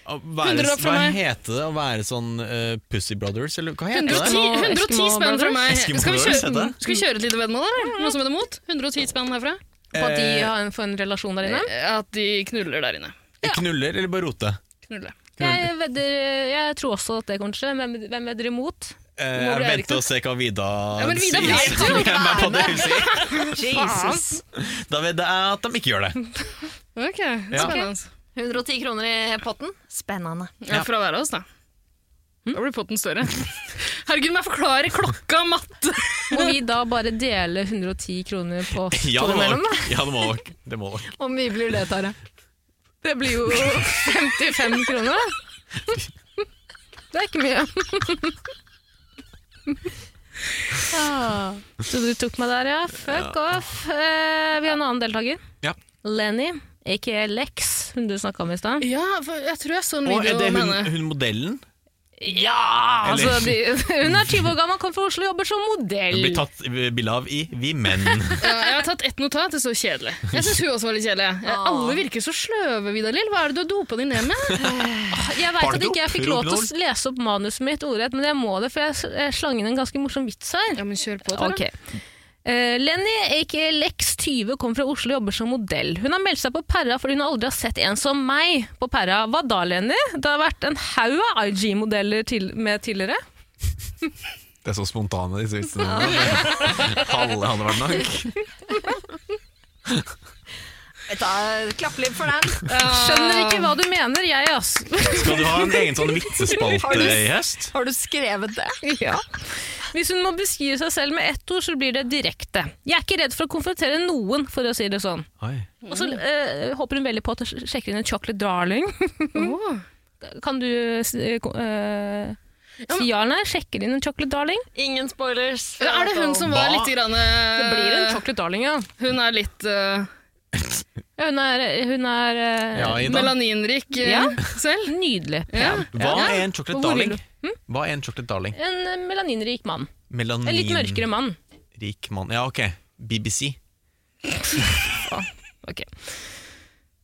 S4: Å Være,
S5: Hundrelapp fra
S4: hva
S5: meg.
S4: heter det å være sånn eh, Pussy Brothers, eller hva heter det?
S5: 110,
S1: Eskimo-
S5: 110
S1: Eskimo
S5: spenn fra
S1: Brothers?
S5: meg.
S4: Eskimo
S5: Skal vi
S4: Brothers,
S5: kjøre,
S4: heter det?
S5: skal vi kjøre et lite veddemål, eller? Noe som heter mot? 110 spenn herfra?
S1: På at de
S4: Eh,
S1: har en, får en relasjon der inne?
S5: At de knuller der inne.
S4: Knuller eller bare rote?
S5: Knulle.
S1: Jeg, vedder, jeg tror også at det kommer til å skje. Hvem, hvem vedder imot?
S4: Eh,
S5: Nå
S4: jeg
S5: ble Erik
S4: venter og ser hva Vida
S5: Ja, men Vida
S4: sier.
S5: vet jo
S4: Jeg er med på det hun sier.
S2: Jesus!
S4: Da vet jeg at de ikke gjør det.
S5: Ok, spennende. altså.
S2: 110 kroner i potten. Spennende.
S5: Ja, Hm? fra hver av oss, da. Da blir potten større. Herregud, må jeg forklare klokka, matte!
S1: Må vi da bare dele 110 kroner på oss
S4: Ja,
S1: to
S4: det må
S1: imellom, da?
S4: nok. Ja, det må nok. Det må nok.
S2: Hvor mye blir det, Tare?
S1: Det blir jo 55 kroner, da. Det er ikke mye. Ah, Så du tok meg der, ja. Fuck off. Eh, vi har en annen deltaker.
S4: Ja.
S1: Lenny, aka Lex, hun du snakka om i stad.
S5: Ja, for jeg tror jeg så en
S4: Og er
S5: video
S4: det
S5: om
S4: hun,
S5: henne.
S4: hun modellen?
S1: Ja!
S4: Eller-
S1: Altså, de, hun er 20 år gammel, kommer fra Oslo og jobber som modell.
S4: Hun blir tatt bilde av i Vi menn.
S5: Ja, jeg har tatt ett notat, det står kjedelig. Jeg syns hun også var litt kjedelig. Ja, alle virker så sløve, Vidar Lill. Hva er det du har dopa deg ned med?
S1: Jeg
S4: Har
S1: vet at
S4: du
S1: ikke jeg fikk lov til
S4: opp,
S1: å lese opp manuset mitt ordrett, men jeg må det, for jeg s- jeg slang inn en ganske morsom vits her.
S5: Ja, men kjør på, Tara.
S1: Ok. Eh, Lenny, aka Lex 20, kommer fra Oslo og jobber som modell. Hun har meldt seg på Perra fordi hun aldri har sett en som meg på Perra. Hva da, Lenny? Det har vært en haug av IG-modeller til, med tidligere.
S4: Det er så spontane, disse vitsene. Halve hadde vært nok.
S2: Klappeliv for den.
S1: Skjønner ikke hva du mener, jeg, ass.
S4: Skal du ha en egen sånn vitsespalte i høst?
S2: Har du skrevet det?
S1: Ja. Hvis hun må beskrive seg selv med ett ord, så blir det direkte. Jeg er ikke redd for å konfrontere noen, for å si det sånn.
S4: Oi.
S1: Og så eh, håper hun veldig på at du sjekker inn en chocolate darling.
S5: Åh.
S1: Kan du eh, ko- eh, si ja eller nei? Sjekker inn en chocolate darling?
S2: Ingen spoilers.
S5: Ja, er det hun som var
S4: Hva?
S5: litt grann,
S1: Det blir en
S5: eh,
S1: chocolate darling, ja.
S5: Hun er litt eh,
S1: Ja, Hun er, hun er eh,
S4: Ja, Ida.
S5: melaninrik eh,
S1: Ja.
S5: selv.
S1: nydelig.
S5: Ja.
S4: Hva er en chocolate
S1: Hvor vil Hm?
S4: darling? Hva er en chocolate darling?
S1: En eh, melaninrik mann. En litt mørkere
S4: Melaninrik
S1: mann.
S4: mann. Ja, ok. BBC.
S1: Ok.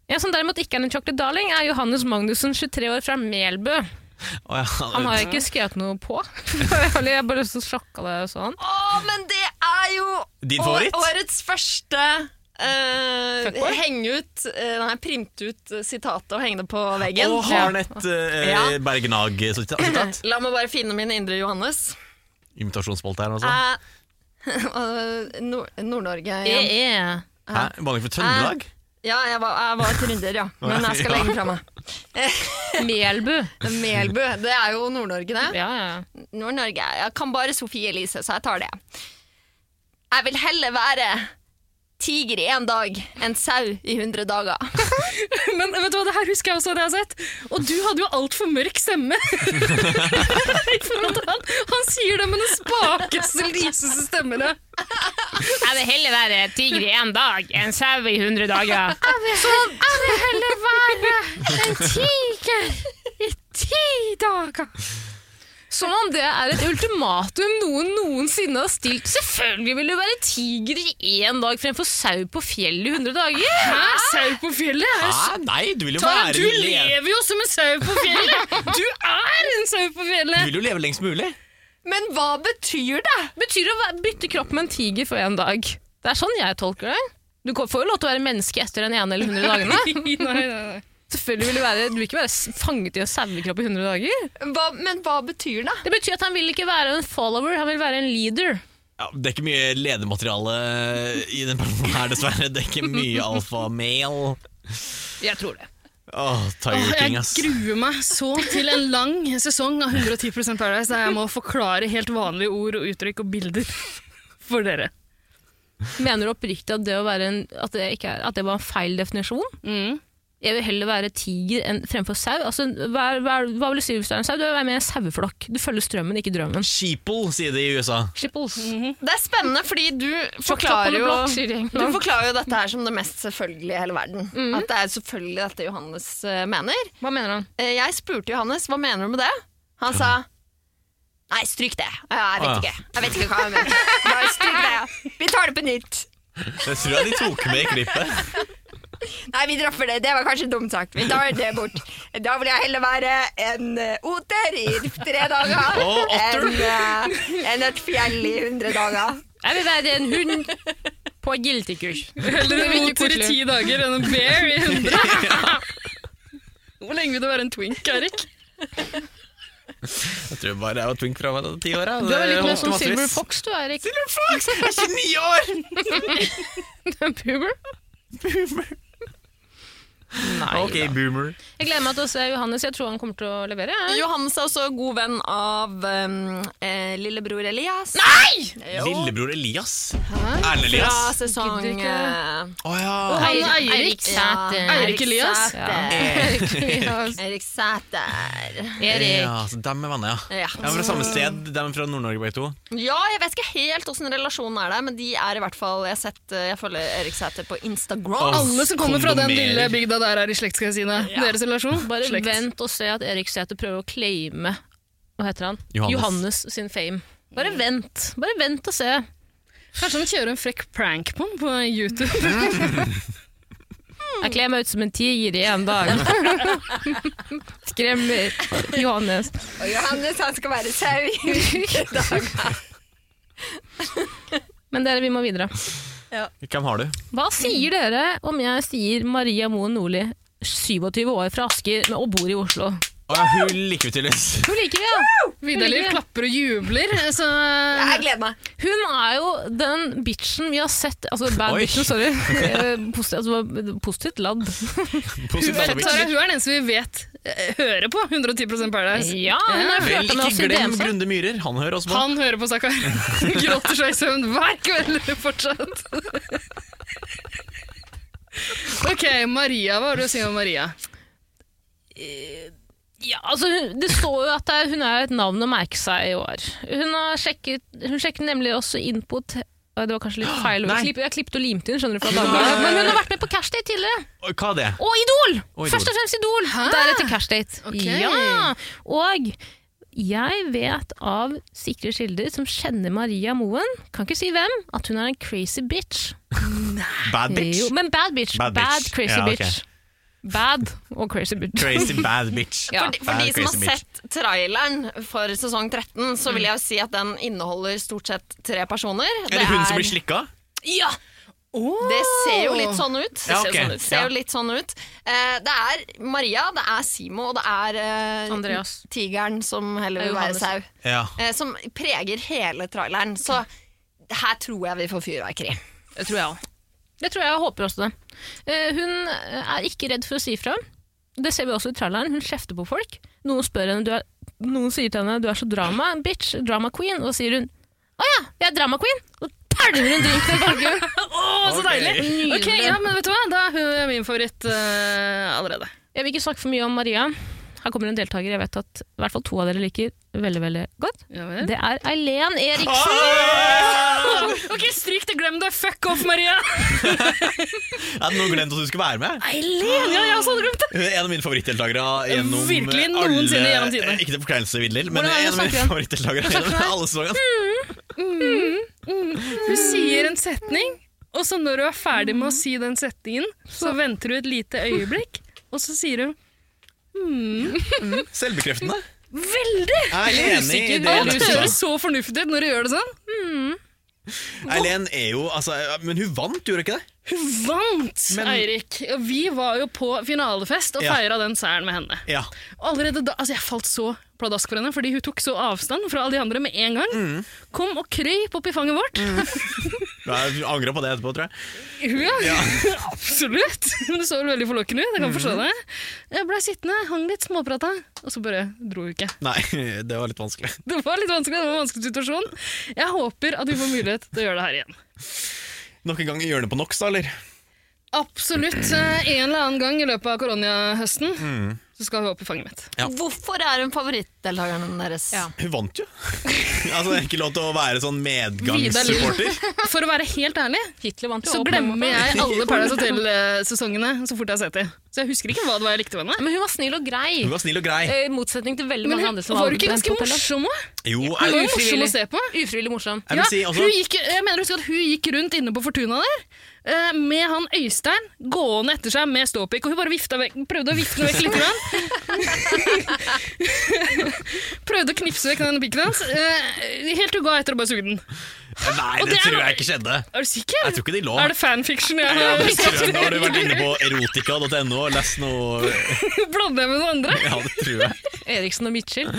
S1: En som derimot ikke er en chocolate darling, er Johannes Magnussen, 23 år, fra Melbu.
S4: Å, ja.
S1: Han har jeg ikke skrevet noe på. jeg bare så sjokka det sånn.
S2: Å, men det er jo
S4: Din
S2: å-
S4: favoritt?
S2: årets første eh,
S1: Fuckboy?
S2: henge ut eh, Nei, printe ut eh, sitatet og henge det på veggen.
S4: Og har han et
S2: Ja.
S4: uh, Bergnag-sitat?
S2: La meg bare finne min indre Johannes.
S4: Imitasjonsspalte her, altså.
S1: Ah.
S2: Eh, og Nord- Nord-Norge
S1: E,
S2: igjen.
S1: Yeah.
S4: Hæ? Vanlig for Trøndelag?
S1: Ah.
S2: Ja, jeg var, jeg var trønder, ja. Men jeg skal legge den fra meg.
S1: Melbu.
S2: Melbu. Det er jo Nord-Norge, det.
S1: Ja, ja.
S2: Nord-Norge. Jeg kan bare Sofie Elise, så jeg tar det. Jeg vil heller være tiger i én dag enn sau i 100 dager.
S5: Men vet du hva, det her husker jeg også at jeg har sett. Og du hadde jo altfor mørk stemme. I forhold til han, han sier det med den spakeste, lyseste stemmen. ja.
S1: Jeg vil heller være tiger i én dag enn sau i 100 dager. Jeg vil, heller være en tiger i ti dager. Som om det er et ultimatum noen noensinne har stilt. Selvfølgelig vil du være tiger i én dag fremfor sau på fjellet i 100 dager.
S5: Hæ? Sau på fjellet? Er
S4: Hæ? Ah, Nei, du vil jo
S5: Tara,
S4: være
S5: du lever jo som en sau på fjellet! Du er en sau på
S4: Du
S5: fjellet!
S4: vil jo leve lengst mulig.
S2: Men hva betyr det?
S1: Betyr det å væ- bytte kropp med en tiger for én dag? Det er sånn jeg tolker det. Du får jo lov til å være menneske etter den ene eller 100 dagene.
S5: Nei, nei, nei.
S1: Selvfølgelig vil du, være, du vil ikke være s- fanget i en sauekropp i 100 dager.
S2: Hva, men hva betyr det?
S1: Det betyr at han vil ikke være en follower, han vil være en leader.
S4: Ja, det er ikke mye ledermateriale i den personen her, dessverre. Det er ikke mye alfamel.
S1: Jeg tror det.
S4: Åh, Tiger
S5: Åh,
S4: King,
S5: jeg
S4: ass.
S5: gruer meg så til en lang sesong av 110 Paradise der jeg må forklare helt vanlige ord og uttrykk og bilder for dere.
S1: Mener du oppriktig at det, å være en, at, det ikke er, at det var en feil definisjon?
S5: Mm.
S1: Jeg vil heller være tiger enn fremfor sau. Altså, hva, er- hva, er- hva vil du si hvis du er en sau? Du vil være med i en saueflokk. Du følger strømmen, ikke drømmen. Mhm.
S4: Sheeple, sier de i USA.
S1: Slipples.
S2: Det er spennende, fordi du forklarer jo du forklarer jo dette her som det mest selvfølgelige i hele verden. At det er selvfølgelig dette Johannes eh, mener.
S1: Hva mener han?
S2: Eh, Jeg spurte Johannes hva mener du med det. Han sa Nei, stryk det. Jeg vet
S4: Ah, ja.
S2: ikke. Jeg vet ikke hva jeg mener. Bare stryk det. Vi tar det på nytt.
S4: Det tror jeg de tok med i klippet.
S2: Nei, vi dropper det. Det var kanskje dumt sagt. Vi tar det bort. Da vil jeg heller være en eh, oter i tre dager
S4: Å, otter.
S2: enn eh, enn et fjell i hundre dager.
S1: Jeg vil være en hund på giltekurs.
S5: Heller
S1: Det
S5: en
S1: virker
S5: motor i
S1: koselig.
S5: ti dager enn en bear i 100. Hvor lenge vil du være en twink, Eirik?
S4: Jeg tror bare jeg var twink fra meg da ti år.
S1: Du er vel litt mer som Silver Fox, du, Erik.
S4: Silver Fox! Jeg er 29 år!
S1: Boomer.
S4: Boomer.
S1: Nei
S4: ok, boomer.
S1: da. Jeg gleder meg til å se Johannes. Jeg tror han kommer til å levere. jeg.
S2: Johannes er også god venn av um, eh, lillebror Elias.
S4: Lillebror Elias. Erlend
S2: Fra
S4: Elias.
S2: sesong
S1: Gidder ikke.
S2: eh,
S4: Å ja.
S5: Han
S1: Eirik-
S5: Eirik.
S1: Eirik Sæter.
S5: Ja. Eirik Elias.
S2: Sæter.
S1: Ja.
S2: Eirik Sæter.
S1: Erik.
S4: Ja, så dem er venner, ja.
S2: Ja.
S4: De er fra samme sted. De er fra Nord-Norge, begge to.
S2: ja, jeg vet ikke helt åssen relasjonen er der, men de er i hvert fall Jeg, har sett, eh, jeg følger Eirik Sæter på Instagram.
S4: Åh.
S5: Alle som kommer fra den
S4: Kondomerer.
S5: lille bygda der er i slekt, skal jeg si deg. Deres relasjon?
S1: Bare
S5: slekt.
S1: vent og se at Erik Sæther prøver å claime Hva heter han?
S4: Johannes.
S1: sin fame. Bare vent. Bare vent og se.
S5: Kanskje han kjører en frekk prank på ham på YouTube?
S1: Jeg kler meg ut som en tiger i en dag. Skremmer Johannes.
S2: Og Johannes han skal være sau.
S1: Men dere, vi må videre.
S4: Hvem har du?
S1: Hva sier dere om jeg sier Maria Moen Nordli, 27 år fra Asker men- og bor i Oslo?
S4: Å ja, hun liker vi tydeligvis.
S1: Hun liker vi, ja!
S5: Vidar-Liv klapper og jubler, så eh,
S2: Jeg gleder meg.
S1: Hun er jo den bitchen vi har sett Altså bad
S4: Oi.
S1: bitchen, sorry. Eh, Positivt, altså, positivt ladd.
S4: Positivt
S5: Tara,
S4: Alvik.
S5: hun er den eneste vi vet eh, hører på 110 Paradise.
S1: Ja, hun er
S4: Vel,
S1: flørta med oss
S4: ikke
S1: i
S4: glem
S1: DM.
S4: Grunde Myhrer. Han hører oss på.
S5: Han hører på, stakkar. Gråter seg i søvn hver kveld fortsatt. Ok, Maria. Hva har du å si om Maria?
S1: Ja, altså, hun- det står jo at det er- hun er et navn å merke seg i år. Hun, har sjekket, hun sjekket nemlig også inn på te- Oi, Det var kanskje litt feil. ord.
S4: Nei.
S1: Klipp- Jeg klippet og limte inn, skjønner du. fra Dagbladet. Men hun har vært med på Cashdate tidligere.
S4: Oi, Hva er det?
S1: Og Idol!
S4: Og Idol.
S1: Først og fremst Idol, deretter Cashdate.
S5: Ok.
S1: Ja. Og jeg vet av sikre kilder som kjenner Maria Moen, kan ikke si hvem, at hun er en crazy bitch.
S4: Bad bitch?
S1: Jo, men bad bitch.
S4: Bad
S1: Bad,
S4: bitch.
S1: crazy
S4: Ja, ok.
S1: bitch. Bad og crazy bitch.
S4: Crazy bad bitch.
S1: Ja.
S2: For, de- for
S4: Bad
S2: de som
S4: crazy
S2: har
S4: bitch. Mm.
S2: sett traileren for sesong 13, så vil jeg jo si at den inneholder stort sett tre personer.
S4: Er det hun som blir slikka?
S2: Ja! Det ser jo litt sånn ut.
S4: Ja,
S2: Det ser jo
S4: ok.
S2: sånn ut. Ser jo
S4: Ja.
S2: litt sånn ut. Eh, det er Maria, det er Simo, og det er eh,
S1: Andreas.
S2: tigeren som heller vil
S1: Det er Johannes.
S2: være sau.
S4: Ja.
S2: eh, som preger hele traileren. Så her tror jeg vi får fyrverkeri.
S1: Det tror jeg òg. Det tror jeg og håper også det. Eh, hun er ikke redd for å si fra. Det ser vi også i traileren. Hun kjefter på folk. Noen spør henne, du er, noen sier til henne du er så drama, bitch, drama queen, og sier hun å ja, jeg er drama queen. Og pælmer en drink til folket.
S5: Å, så deilig!
S1: Nydelig.
S5: Ok, ja, men vet du hva? Da er hun min favoritt eh, allerede.
S1: Jeg vil ikke snakke for mye om Maria. Her kommer en deltaker jeg vet at i hvert fall to av dere liker veldig veldig godt.
S5: Ja vel.
S1: Det er Eileen Eriksen.
S4: Ah!
S5: Ok, stryk det, glem det. Fuck off, Maria!
S4: Jeg hadde noen glemt at du skulle være med.
S5: Eileen! Ja, jeg også hadde glemt det.
S4: Hun er En av mine favorittdeltakere gjennom
S5: Virkelig
S4: alle- Eh,
S5: noensinne gjennom tidene.
S4: Ikke til forkleinelse, Vindel, men
S1: Hvordan er det
S4: en av
S1: du snakker
S4: mine
S1: om?
S4: favorittdeltakere gjennom alle sesongene.
S5: Hmm. Hun sier en setning, og så når hun er ferdig med å si den setningen, så venter hun et lite øyeblikk, og så sier hun
S4: Selvbekreftende.
S5: Veldig!
S4: Jeg er enig i det.
S5: Alt
S4: Lepsa.
S5: høres så fornuftig ut når hun gjør det sånn.
S4: Eileen er jo altså, Men hun vant, gjorde hun ikke det?
S5: Hun vant,
S4: Men-
S5: Eirik! Og vi var jo på finalefest og
S4: Ja.
S5: feira den seieren med henne.
S4: Ja.
S5: Og Allerede da, altså Jeg falt så pladask for henne, fordi hun tok så avstand fra alle de andre med en gang.
S4: Mm.
S5: Kom og krøyp opp i fanget vårt.
S4: Jeg angra på det etterpå, tror jeg.
S5: Hun, ja. Absolutt. Men det så vel veldig forlokkende ut. Jeg kan forstå
S4: Mm.
S5: det. Jeg blei sittende, hang litt, småprata, og så bare dro hun ikke.
S4: Nei, det var litt vanskelig.
S5: Det var litt vanskelig, det var en vanskelig situasjon. Jeg håper at vi får mulighet til å gjøre det her igjen.
S4: Nok en gang i hjørnet på NOx, da, eller?
S5: Absolutt. eh, En eller annen gang i løpet av koronahøsten så skal hun opp i fanget mitt.
S4: Ja.
S2: Hvorfor er hun favorittdeltakeren deres?
S1: Ja.
S4: Hun vant jo. altså, det er ikke lov til å være sånn
S5: Vidar Lill.
S4: medgangssupporter.
S5: For å være helt ærlig,
S1: Hitler vant jo
S5: så
S1: opp, men-
S5: glemmer jeg alle Paradise Hotel-sesongene så fort jeg har sett dem. Så jeg husker ikke hva det var jeg likte med henne.
S1: Men hun var snill og grei.
S4: Hun var snill og grei.
S1: Eh, I motsetning til veldig
S5: Men
S1: mange
S5: hun
S1: andre som
S5: var jo ikke
S1: på
S5: ganske
S1: hotellet.
S5: morsom òg?
S4: Jo,
S5: Hun var
S4: jeg,
S5: jo morsom å
S1: Ufrivillig.
S5: se på.
S1: Ufrivillig morsom.
S4: jeg
S5: Ja,
S4: vil si også
S5: hun gikk, jeg mener husker at hun gikk rundt inne på Fortuna der eh, med han Øystein gående etter seg med ståpikk, og hun bare vifta vekk, prøvde å vifte den vekk litt. Grann. prøvde å knipse vekk den pikken hans, eh, helt til hun ga etter og bare sugde den.
S4: Nei,
S5: Og
S4: det
S5: det er-
S4: tror jeg ikke skjedde.
S5: Er du sikker?
S4: Jeg tror ikke de lå.
S5: Er det fanfiction jeg
S4: Ja,
S5: har
S4: det tror jeg.
S5: skapt?
S4: Nå har du vært inne på erotika.no og lest noe
S5: Blander jeg med noen andre?
S4: Ja, det tror jeg.
S1: Eriksen og Mitchell.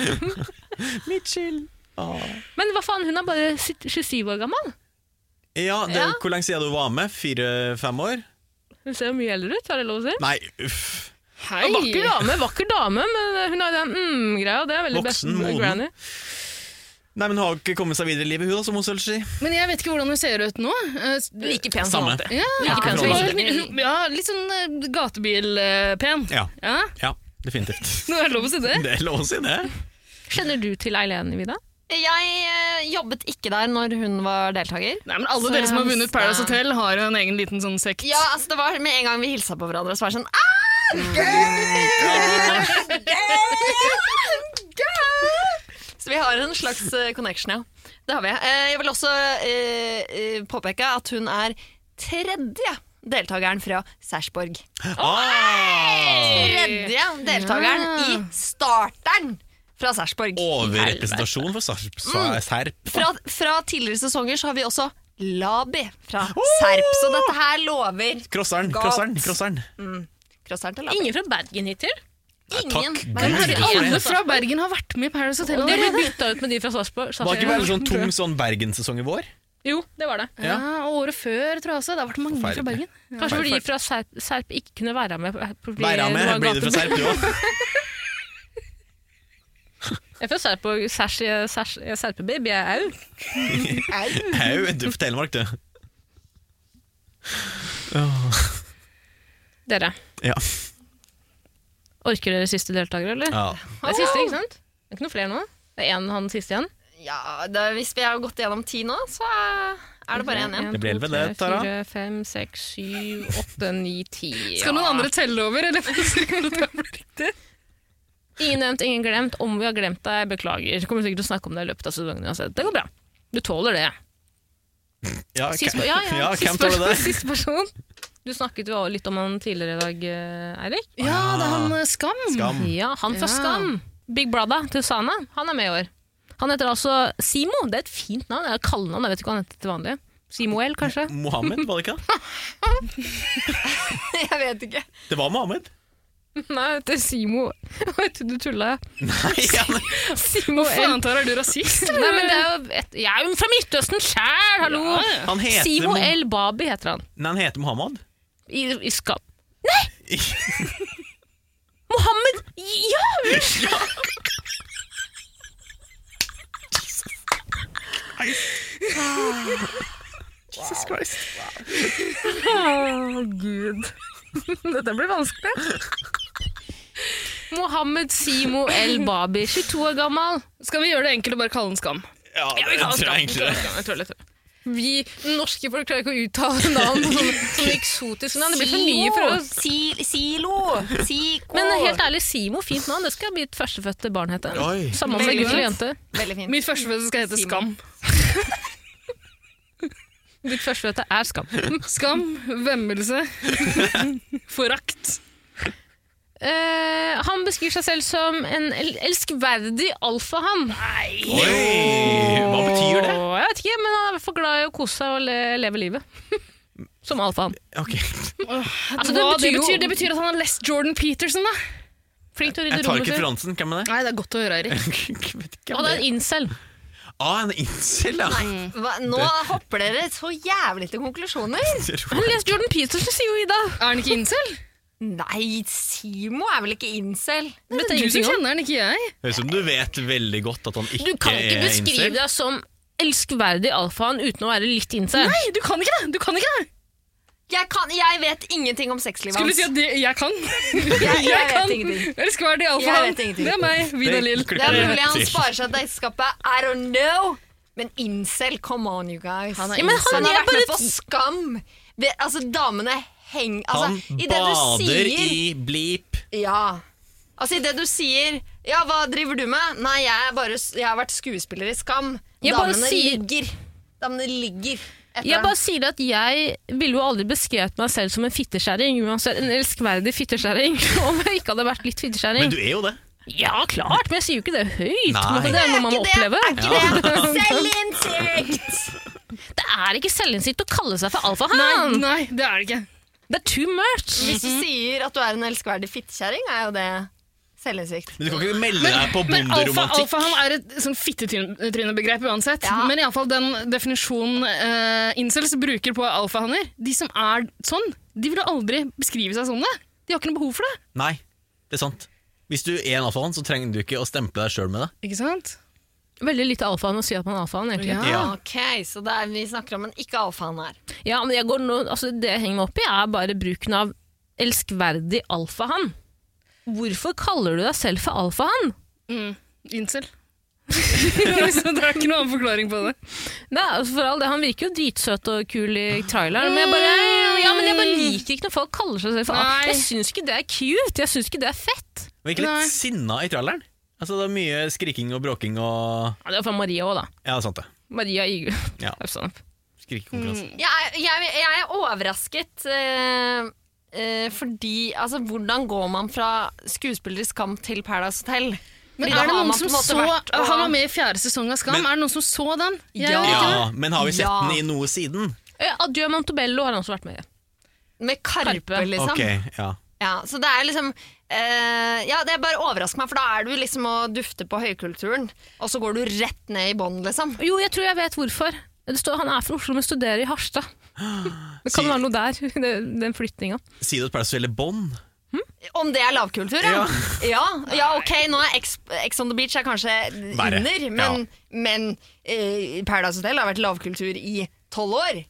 S1: Men hva faen, hun er bare sitt- 27 år gammel.
S4: Ja, det,
S2: Ja.
S4: Hvor lenge siden du var med? Fire-fem år?
S1: Hun ser jo mye eldre ut, har jeg lov å si.
S4: Nei, uff.
S5: Hei!
S1: Vakker dame, vakker dame, men hun har den mm-greia. Det er veldig
S4: Voksen,
S1: best-
S4: moden.
S1: granny.
S4: Nei, men Hun har jo ikke kommet seg videre i livet, hun da, som hun selv sier.
S5: Men jeg vet ikke hvordan hun ser ut nå. Eh,
S1: Like pen
S4: Samme.
S5: Ja,
S1: Like pen som
S4: Ja.
S1: alltid.
S5: ja, litt sånn eh, gatebil-pen.
S4: Ja.
S5: ja.
S4: ja, definitivt.
S5: Nå er det lov å si det.
S4: Det er lov å si det.
S1: Kjenner du til Eileen, Vida?
S2: Jeg eh, jobbet ikke der når hun var deltaker.
S5: Nei, men Alle
S2: Så
S5: dere som har
S2: jeg
S5: vunnet
S2: visste-
S5: Paradise Hotel, har jo en egen liten sånn sekt.
S2: Ja, altså det var Med en gang vi hilsa på hverandre, så var det sånn ah! Så vi har en slags eh, connection, ja. Det har vi. Eh, Jeg vil også eh, eh, påpeke at hun er tredje deltakeren fra Sarpsborg.
S4: Ah,
S2: Tredje deltakeren
S5: Ja.
S2: i starteren fra Sarpsborg.
S4: overrepresentasjon for Sarp. Sa- Serp.
S2: Fra, fra tidligere sesonger så har vi også Labi fra Serp, så dette her lover
S4: Crosseren,
S2: Galt.
S4: crosseren, crosseren.
S2: Crosseren til Labi.
S1: Ingen fra Bergen hittil.
S2: Ingen.
S4: Takk
S2: Men
S4: Gud
S2: herregud,
S4: for
S5: Alle
S4: det.
S5: fra Bergen har vært med i Paradise Hotel.
S1: Og de ble
S5: allerede.
S1: bytta ut med de fra Sarpsborg.
S4: Var ikke veldig sånn
S1: Tror
S4: tung
S1: jeg.
S4: sånn Bergenssesong i vår?
S1: Jo, det var det.
S5: Ja, og Året før, tror jeg også. Det har vært mange fra
S4: Forferdelig.
S5: Bergen.
S1: Kanskje fordi de fra Serp, Serp ikke kunne være med. på- fordi
S4: Være
S1: det
S4: med,
S1: var
S4: blir det fra
S1: gate-
S4: Serp, du òg?
S1: Jeg er fra Serp og Sers, Sers, Serpebaby, jeg er au.
S4: Au, du er fra Telemark, du.
S1: Dere,
S4: Ja.
S1: orker dere siste deltakere, eller?
S4: ja.
S1: Det er siste, ikke sant? Det er ikke noe flere nå? Det er én han siste igjen?
S2: Ja, det, hvis vi har gått gjennom ti nå, så er det bare én igjen.
S4: Det blir
S1: to,
S4: vel det,
S1: tre,
S4: Tara.
S1: Fire, fem, seks, syv, åtte, ni, ti.
S5: Skal noen andre telle over? Eller? Riktig.
S1: Ingen nevnt, ingen glemt. Om vi har glemt deg, beklager. Kommer sikkert til å snakke om deg i løpet av sesongen uansett. Det går bra. Du tåler det.
S4: Ja,
S1: Sist,
S4: hvem-
S1: ja, ja,
S4: ja,
S1: siste,
S4: hvem tåler
S1: person,
S4: det?
S1: siste person. Du snakket jo litt om han tidligere i dag, eh, Eirik.
S5: Ja, det er han eh, Skam.
S4: Skam.
S1: Ja, han fra
S5: Ja.
S1: Skam. Big Brother til Sana. Han er med i år. Han heter altså Simo. Det er et fint navn. Det er et kallenavn. Jeg vet ikke hva han heter til vanlig. Simoel, kanskje?
S4: Mohammed, var det ikke det?
S2: Jeg vet ikke.
S4: Det var Mohammed.
S1: Nei, det heter Simo. Vet du, du tulla.
S4: Nei, ja, men-
S1: Simoel.
S5: Faen, Tara, er du rasist?
S1: Nei, men det er jo et, jeg er jo fra Midtøsten sjæl, hallo!
S4: han heter
S1: Simo
S4: Mo-
S1: El Babi heter han.
S4: Nei, han heter Mohammed.
S1: I, i Skam. Nei! Mohammed Ja!
S4: Jesus Christ.
S1: Å, gud. Dette blir vanskelig. Mohammed Simo El Babi, 22 år gammel.
S5: Skal vi gjøre det enkelt og bare kalle han Skam?
S4: Ja, det
S1: Jeg
S4: tror jeg egentlig det.
S1: tuller, jeg tuller. Vi norske folk klarer ikke å uttale navn som, som eksotisk navn. Det blir for mye for oss.
S2: Silo! Silo! Siko!
S1: Men helt ærlig, Simo, fint navn. Det skal mitt førstefødte barn hete.
S4: Oi.
S1: Samme om det er
S5: Veldig
S1: gutt eller
S5: fint.
S1: jente.
S2: Veldig fint.
S5: Mitt førstefødte skal hete Skam.
S1: Ditt førstefødte er Skam.
S5: Skam, vemmelse, forakt.
S1: Eh, han beskriver seg selv som en el elskverdig alfahann.
S4: Oi, hva betyr det?
S1: Åh, Jeg vet ikke, men han er i hvert fall glad i å kose seg og le leve livet. Som alfaen.
S4: Ok.
S1: Altså,
S5: Hva
S1: det betyr jo-
S5: betyr, det betyr at han er less Jordan Peterson, da.
S1: Flink til å
S4: Jeg
S1: rydde
S4: tar
S1: rommet
S4: ikke
S1: sitt.
S4: referansen. Hvem er det?
S5: Nei, det er godt å høre, Eirik.
S4: Jeg vet ikke
S1: Og
S4: hvem
S1: det er
S4: det er.
S1: en incel.
S4: Ah, en incel, ja!
S2: Hva, nå hopper dere så jævlig til konklusjoner.
S1: Men les Jordan Peterson, sier jo Ida.
S5: Er han ikke incel?
S2: Nei, Simo er vel ikke incel?
S5: Det
S1: Vet
S5: er du
S1: ingenting om.
S5: som kjenner han, ikke jeg.
S4: Høres ut som du vet veldig godt at han ikke,
S1: Du kan ikke
S4: er
S1: beskrive
S4: incel.
S1: deg som elskverdig alfaen uten å være litt incel.
S5: Nei, du kan ikke det! Du kan ikke det!
S2: Jeg, kan, jeg vet ingenting om sexlivet
S5: Skulle du
S2: hans.
S5: si at det, jeg kan?
S2: jeg, jeg
S5: kan.
S2: vet ingenting.
S5: Elskverdig
S2: Jeg
S5: alfaen.
S2: vet ingenting.
S5: Det er meg, Vida Lill.
S4: klipper
S2: Det er
S4: jeg
S2: mulig han
S4: til.
S2: sparer seg til ekteskapet. I don't know. Men incel, come on, you guys.
S5: Han er
S2: Ja, men
S1: incel.
S2: han
S1: Han
S2: har
S1: er
S2: vært med
S1: bare-
S2: på Skam. Det, altså, damene heng...
S4: Han
S2: Altså, i det du
S4: bader
S2: sier
S4: i blip.
S2: Ja. Altså, i det du sier Ja, hva driver du med? Nei, jeg, er bare, jeg har vært skuespiller i Skam.
S1: Jeg bare
S2: Damene
S1: sier-
S2: ligger. Damene ligger. Etter
S1: Jeg
S2: ham.
S1: bare sier at jeg ville jo aldri beskrevet meg selv som en fitteskjæring. Uansett, en elskverdig fitteskjæring. Om jeg ikke hadde vært litt
S4: Men
S1: fitteskjæring.
S4: du er jo det.
S1: Ja, klart, men jeg sier jo ikke det høyt.
S4: Nei.
S1: Men Det er noe man må
S2: ikke det-
S1: oppleve.
S2: Er ikke det selvinnsikt?
S1: Det er ikke selvinnsikt å kalle seg for
S5: Nei,
S1: alfahann.
S5: nei, det er det ikke.
S1: Det er too much.
S2: Hvis du sier at du er en elskverdig fittekjerring, er jo det selvinnsikt.
S4: Men du kan ikke melde deg på
S5: Men alfa,
S4: bonderomantikk.
S5: alfa han er et sånn fittetrynebegrep uansett.
S2: Ja.
S5: Men iallfall den definisjonen eh, incels bruker på alfahanner De som er sånn, de ville aldri beskrive seg som det. De har ikke noe behov for det.
S4: Nei, det er sant. Hvis du er en alfahann, så trenger du ikke å stemple deg sjøl med det.
S5: Ikke sant?
S1: Veldig lite alfahann å si at man er alfahann, egentlig.
S5: Ja.
S4: Ja.
S2: Ok, så det er, vi snakker om en ikke-alfaen her.
S1: Ja. men jeg går nå, altså, det jeg henger meg opp i, er bare bruken av elskverdig alfahann. Hvorfor kaller du deg selv for alfahann?
S5: Mm. Incel. det er liksom- det er ikke noen annen forklaring på det.
S1: Nei, altså for all det, Han virker jo dritsøt og kul i traileren, men jeg bare, ja, men jeg bare liker ikke når folk kaller seg selv for Ah,
S5: Nei.
S1: Jeg syns ikke det er cute, jeg syns ikke det er fett.
S4: Men ikke
S5: Nei.
S4: litt sinna i tralleren? Altså, det er mye skriking og bråking og
S1: Ja, det var fra Maria òg, da.
S4: Ja, det er sant det.
S1: Maria Igu.
S4: Ja.
S1: Haugstad.
S4: Skrikekonkurranse.
S2: Jeg, er- jeg, jeg er overrasket eh, eh, fordi Altså, hvordan går man fra skuespiller i Skam til Paradise Hotel?
S5: Men
S2: Fordi da
S5: er det
S2: har
S5: noen
S2: man
S5: som
S2: på en måte
S5: så
S2: vært og-
S5: Han var med i fjerde sesong av Skam.
S4: Men-
S5: er det noen som så den? Jeg
S2: Ja.
S5: gjør ikke det.
S4: Ja, men har vi sett
S2: Ja.
S4: den i noe siden?
S1: Eh, Adjø Montebello har han også vært med i.
S2: Med Karpe,
S1: Karpe.
S2: liksom.
S4: Ok, ja.
S2: Ja, så det er liksom eh, Ja, det bare overrasker meg, for da er du liksom og dufter på høykulturen, og så går du rett ned i bånn, liksom.
S1: Jo, jeg tror jeg vet hvorfor. Det står, han er fra Oslo, men studerer i Harstad. Det kan
S4: Si-
S1: være noe der, den- den flyttinga.
S4: Sier du at Paradise Hotel er bånd?
S2: Om det er lavkultur, ja. Ja, ja ok, nå er Ex, Ex on the Beach er kanskje
S4: Verre,
S2: under, men, men eh, Paradise Hotel har vært lavkultur i tolv år.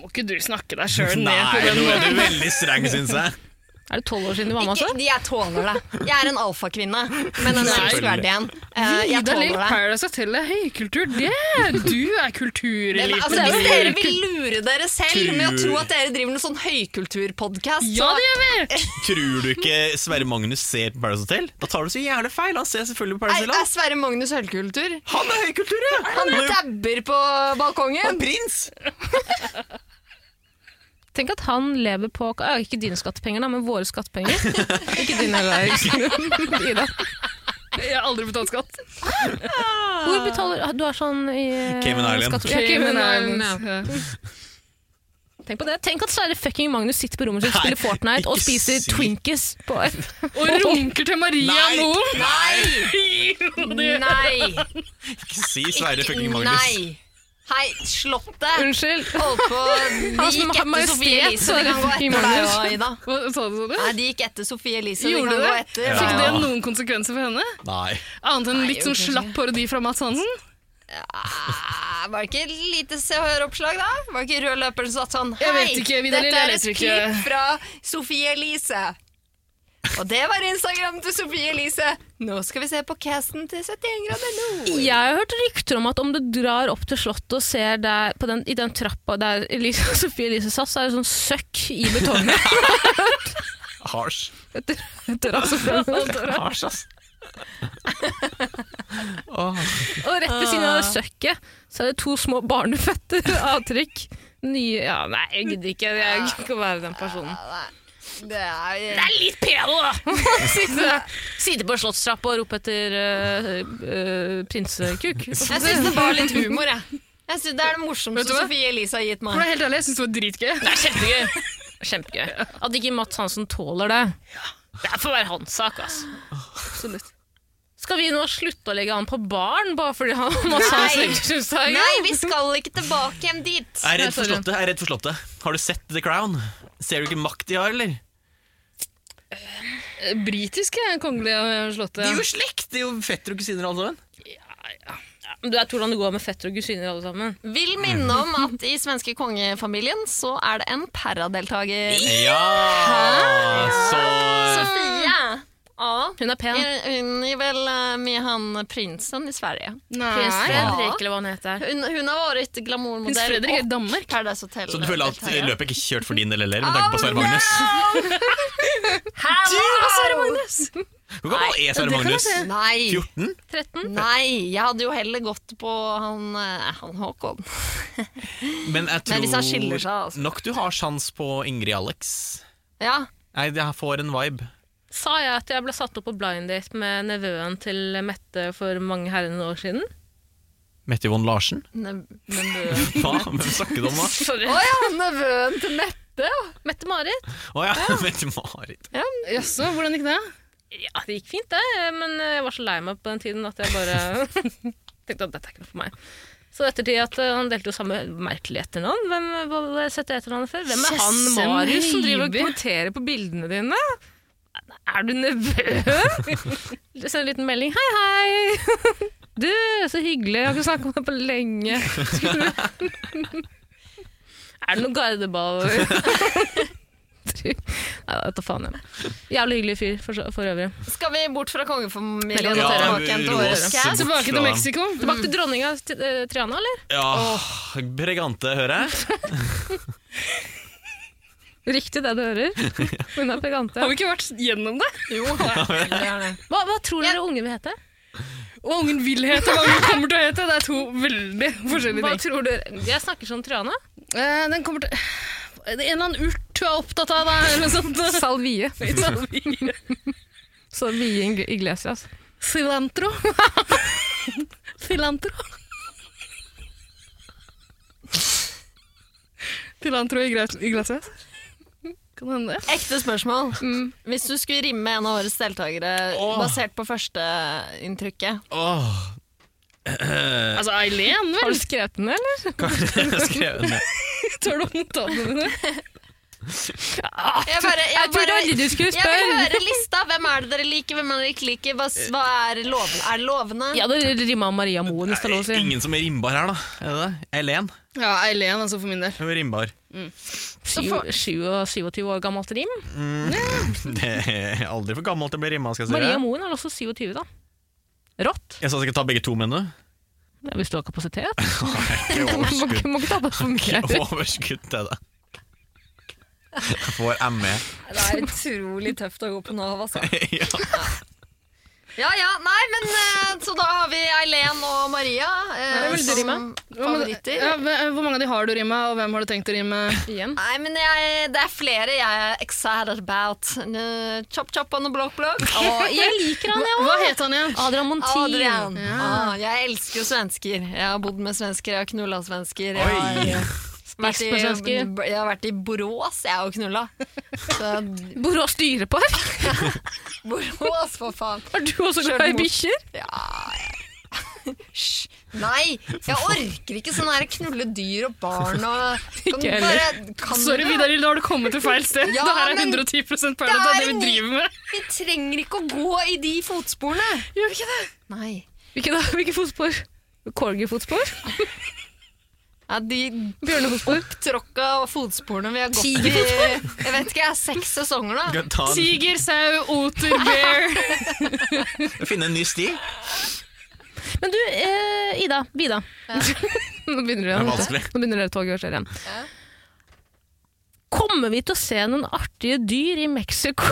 S5: Må ikke du snakke deg sjøl
S4: Nei,
S5: ned på den
S4: nå er
S5: måten?
S4: du veldig streng, syns jeg.
S1: Er det tolv år siden du var med,
S2: Ikke,
S1: altså?
S2: jeg tåler det. Jeg er en alfakvinne, men en
S4: Selvfølgelig.
S2: elskverdig en. Eh, jeg
S5: Ida Lill,
S2: tåler det.
S5: Paradise Hotel er høykultur. Det er du er
S2: Men,
S5: kultureliten.
S2: altså, hvis dere vil lure dere selv med å
S4: Tur.
S2: tro at dere driver med sånn høykulturpodkast,
S5: Ja, det gjør vi!
S4: Tror du ikke Sverre Magnus ser på Paradise Hotel? Da tar du så jævlig feil. Han ser selvfølgelig på
S2: er, er
S4: Paradise Hotel.
S2: Sverre Magnus høykultur.
S4: Han er høykultur, ja!
S2: Han
S4: er jo
S2: dabber på balkongen.
S4: prins!
S1: Tenk at han lever på ja, Ikke dine skattepenger, da, men våre skattepenger. ikke dine heller, Haugstad. Ida.
S5: Jeg har aldri betalt skatt.
S1: Hvor betaler Du er sånn i
S4: Cayman Island.
S1: skatt- Ja, Cayman Island, ja. Tenk på det. Tenk at Sverre fucking Magnus sitter på rommet sitt,
S4: Nei,
S1: spiller Fortnite og
S4: ikke
S1: spiser
S4: si-
S1: Twinkies på
S5: Og runker til Maria
S4: Nei.
S5: Moen.
S2: Nei! Nei!
S4: Ikke si Sverre fucking Magnus.
S2: Nei! Hei, Slottet!
S1: Unnskyld.
S2: Holdt på De
S1: Han som
S2: gikk
S1: har
S2: etter
S1: majestet,
S2: Sofie Elise.
S1: Sverre
S2: Vi kan gå
S1: fucking
S2: etter deg
S1: Magnus.
S2: òg, Ida.
S5: Hva sa du, sa du?
S2: Nei, de gikk etter Sofie Elise. Vi
S5: Gjorde
S2: kan
S5: det?
S2: gå etter.
S4: Ja.
S5: Fikk det noen konsekvenser for henne?
S4: Nei.
S5: Annet enn litt
S2: jo,
S5: sånn
S2: kanskje
S5: slapp parodi fra Mats Hansen?
S2: Ah, Var det ikke et lite Se og Hør-oppslag, da? Var det ikke rød løper som satt sånn
S5: Jeg
S2: Hei,
S5: vet ikke, Vidar
S2: dette
S5: Lill,
S2: er
S5: jeg
S2: et
S5: leser
S2: klipp
S5: ikke.»
S2: fra Sofie Elise. Og det var Instagram til Sofie Elise. Nå skal vi se på casten til 71 grader nord.
S1: Jeg har hørt rykter om at om du drar opp til Slottet og ser der, på den, i den trappa der Elise, Sofie Elise satt, så er det sånn søkk i betongen.
S4: Harsh.
S1: Etter, etter altså, og
S4: Harsh, ass. Åh.
S1: rett ved siden av det søkket så er det to små barneføtter avtrykk. Nye Ja, nei, jeg gidder ikke. Jeg gidder ikke å være den personen.
S2: Det er,
S1: Det er litt pedo, da! sitte, sitte på slottstrappa og rope etter eh, eh, prinsekuk.
S2: Jeg syns det var litt humor, jeg. Jeg synes Det er det morsomste
S5: Vet du hva?
S2: Sofie Elise har gitt
S5: For å
S2: meg.
S5: være helt ærlig, jeg syns det var dritgøy.
S1: Det er kjempegøy. Kjempegøy. At ikke Mats Hansen tåler det. Det får være hans sak, altså.
S5: Absolutt.
S1: Skal vi nå slutte å legge han på baren bare fordi han Mats Hansen ikke syns det er gøy?
S2: Nei, vi skal ikke tilbake hjem dit!
S4: Jeg er redd for
S1: sorry.
S4: Slottet. jeg er redd for slottet. Har du sett The Crown? Ser du ikke makt de har, eller?
S5: Eh, Britisk er kongelige eh,
S4: De er
S5: slottet.
S4: jo slekt! De er jo fetter og kusiner, alle sammen.
S1: Men Du vet hvordan det går med fetter og kusiner alle sammen.
S2: Vil minne om at i svenske kongefamilien så er det en paradeltaker.
S4: Ja! Så
S2: Sofia! Ja.
S1: Hun er pen.
S2: Hun är väl eh, med han prinsen i Sverige.
S1: Prins
S5: Nei.
S1: Fredrik, eller hva han heter.
S2: Hun, hun har vært
S5: Prins
S2: glamourmodell
S5: Fredrik er i
S2: og
S5: Danmark.
S2: Paradise Hotel.
S4: Så du føler at
S2: deltaker.
S4: løpet ikke kjørt for din del heller, med tanke på Sverre Magnus?
S2: Hello!
S4: Hvor gammel er e Sverre Magnus?
S2: Nei,
S4: 14?
S1: 13?
S2: nei, jeg hadde jo heller gått på han, eh, han Håkon.
S4: Men jeg
S2: Men hvis han skiller
S4: tror
S2: seg, altså.
S4: nok du har sjans på Ingrid Alex.
S2: Ja,
S4: Nei, jeg får en vibe.
S1: Sa jeg at jeg ble satt opp på blind date med nevøen til Mette for mange herrene år siden?
S4: Mette Yvonne Larsen?
S2: ne- nevøen.
S4: Hva? Hvem snakker du om nå?
S1: Sorry.
S2: Å ja, nevøen til Mette. ja.
S1: Mette-Marit?
S4: Å ja, Mette-Marit.
S5: Jaså, hvordan gikk det?
S1: Ja, det gikk fint, det. Men jeg var så lei meg på den tiden at jeg bare tenkte at dette er ikke noe for meg. Så ettertid at eh, han delte jo samme merkelig etternavn. Hvem hva har jeg sett det etternavnet før? Hvem er han
S5: Sessem
S1: Marius som driver og
S5: Høiby.
S1: kommenterer på bildene dine? Er du nevø? Send en liten melding. Hei, hei! Du, så hyggelig. Jeg har ikke snakket med deg på lenge. er det noe gardeball? Nei, da vet da faen. jeg. Jævlig hyggelig fyr, for, så- for øvrig.
S2: Skal vi bort fra kongefamilien
S1: Ja,
S2: og tilbake igjen til
S4: ro
S2: årets
S4: oss
S2: cast?
S4: bort
S5: Tilbake
S4: fra-
S5: til Mexico.
S1: Tilbake til dronninga til, eh, Triana, eller?
S4: Ja, Bregante, hører jeg.
S1: Riktig det du hører. Hun er pegante.
S5: Har vi ikke vært gjennom det?
S2: Jo, det er det.
S1: Hva, hva tror dere ungen vil hete?
S5: Og ungen vil hete hva ungen kommer til å hete. Det er to veldig forskjellige
S1: Hva
S5: ting.
S1: tror dere? Jeg snakker som Triana.
S5: Eh, den kommer til Det er En eller annen urt du er opptatt av, da, eller noe sånt.
S1: Salvie. Salvie Ing- Iglesias.
S5: Cilantro. Cilantro. Cilantro i gres- i glasset. Kan hende det.
S2: Ekte spørsmål. Mm. Hvis du skulle rimme en av årets deltakere
S4: Åh.
S2: basert på førsteinntrykket
S4: Åh.
S5: Altså Eileen,
S1: Har
S5: vel?
S1: du skrevet den, eller?
S4: Jeg har skrevet ned.
S5: Tør du å ta den?
S2: Jeg, bare, jeg, bare,
S1: aldri du skulle
S2: jeg vil høre lista. Hvem er det dere liker, hvem er det dere ikke liker? Hva, s- hva er lovende? Er det lovende?
S1: Ja, det rima Maria Moen, hvis det er lov å si.
S4: Ingen som er rimbar her, da. Er det det? Eileen?
S5: Ja, Eileen, altså, for min del.
S4: Hun er rimbar.
S1: Sju- sju og 27 år gammelt rim.
S4: Det er aldri for gammelt til å bli rimma, skal jeg si.
S1: Maria
S4: deg.
S1: Moen er også 27, da. Rått.
S4: Jeg sa jeg skulle ta begge to, mener du?
S1: Ja, Hvis du har kapasitet.
S4: Ikke
S1: Må
S4: overskudd.
S1: ikke, må ikke ta på for mye.
S4: overskudd til det. Jeg får ME.
S2: Det er utrolig tøft å gå på Nav, altså.
S4: ja.
S2: Ja, ja, nei, men eh, Så da har vi Eileen og Maria eh,
S1: vil du
S2: som
S1: rimme?
S2: favoritter.
S5: Ja, men, eh, hvor mange av de har du rima, og hvem har du tenkt å rime?
S1: Igjen.
S2: Nei, men jeg, det er flere jeg er excited about. Nå, Chop chop on the block block. Og jeg liker han, jeg
S5: Hva het han igjen?
S1: Adrian Montin.
S2: Adrian. Ah, jeg elsker jo svensker. Jeg har bodd med svensker, jeg har knulla svensker. Jeg har, eh,
S4: Oi.
S2: vært i,
S1: Spist med svensker.
S2: jeg har vært i Borås, jeg har jo knulla. Så
S1: Bor og styrer på her.
S2: Borås, for faen.
S1: Har du også
S2: Kjører
S1: glad i
S2: mot-
S1: bikkjer?
S2: Hysj. Nei, jeg orker ikke sånn her knulle dyr og barn og kan
S1: Ikke
S2: du
S1: heller.
S2: bare- kan
S5: Sorry,
S2: du-
S5: Vidar, da har du kommet til feil sted.
S2: Ja,
S5: det her er
S2: men-
S5: 110
S2: Det
S5: perlet
S2: er
S5: av det vi
S2: en ny-
S5: driver med.
S2: Vi trenger ikke å gå i de fotsporene.
S5: Gjør vi ikke det?
S2: Nei.
S1: Hvilke, da? Hvilke fotspor? Korgefotspor?
S2: Ja, de
S1: Bjørnefotspor?
S2: opptråkka fotsporene vi har gått i Jeg vet ikke, jeg har seks sesonger da.
S4: Du kan ta en,
S5: Tiger, sau, oter, bear.
S4: finne en ny sti. Det
S1: Men du, eh, Ida. Vida. Nå begynner du
S4: er
S1: igjen. vet du.
S4: vanskelig.
S1: Nå begynner dere toget å kjøre igjen. Kommer vi til å se noen artige dyr i Mexico?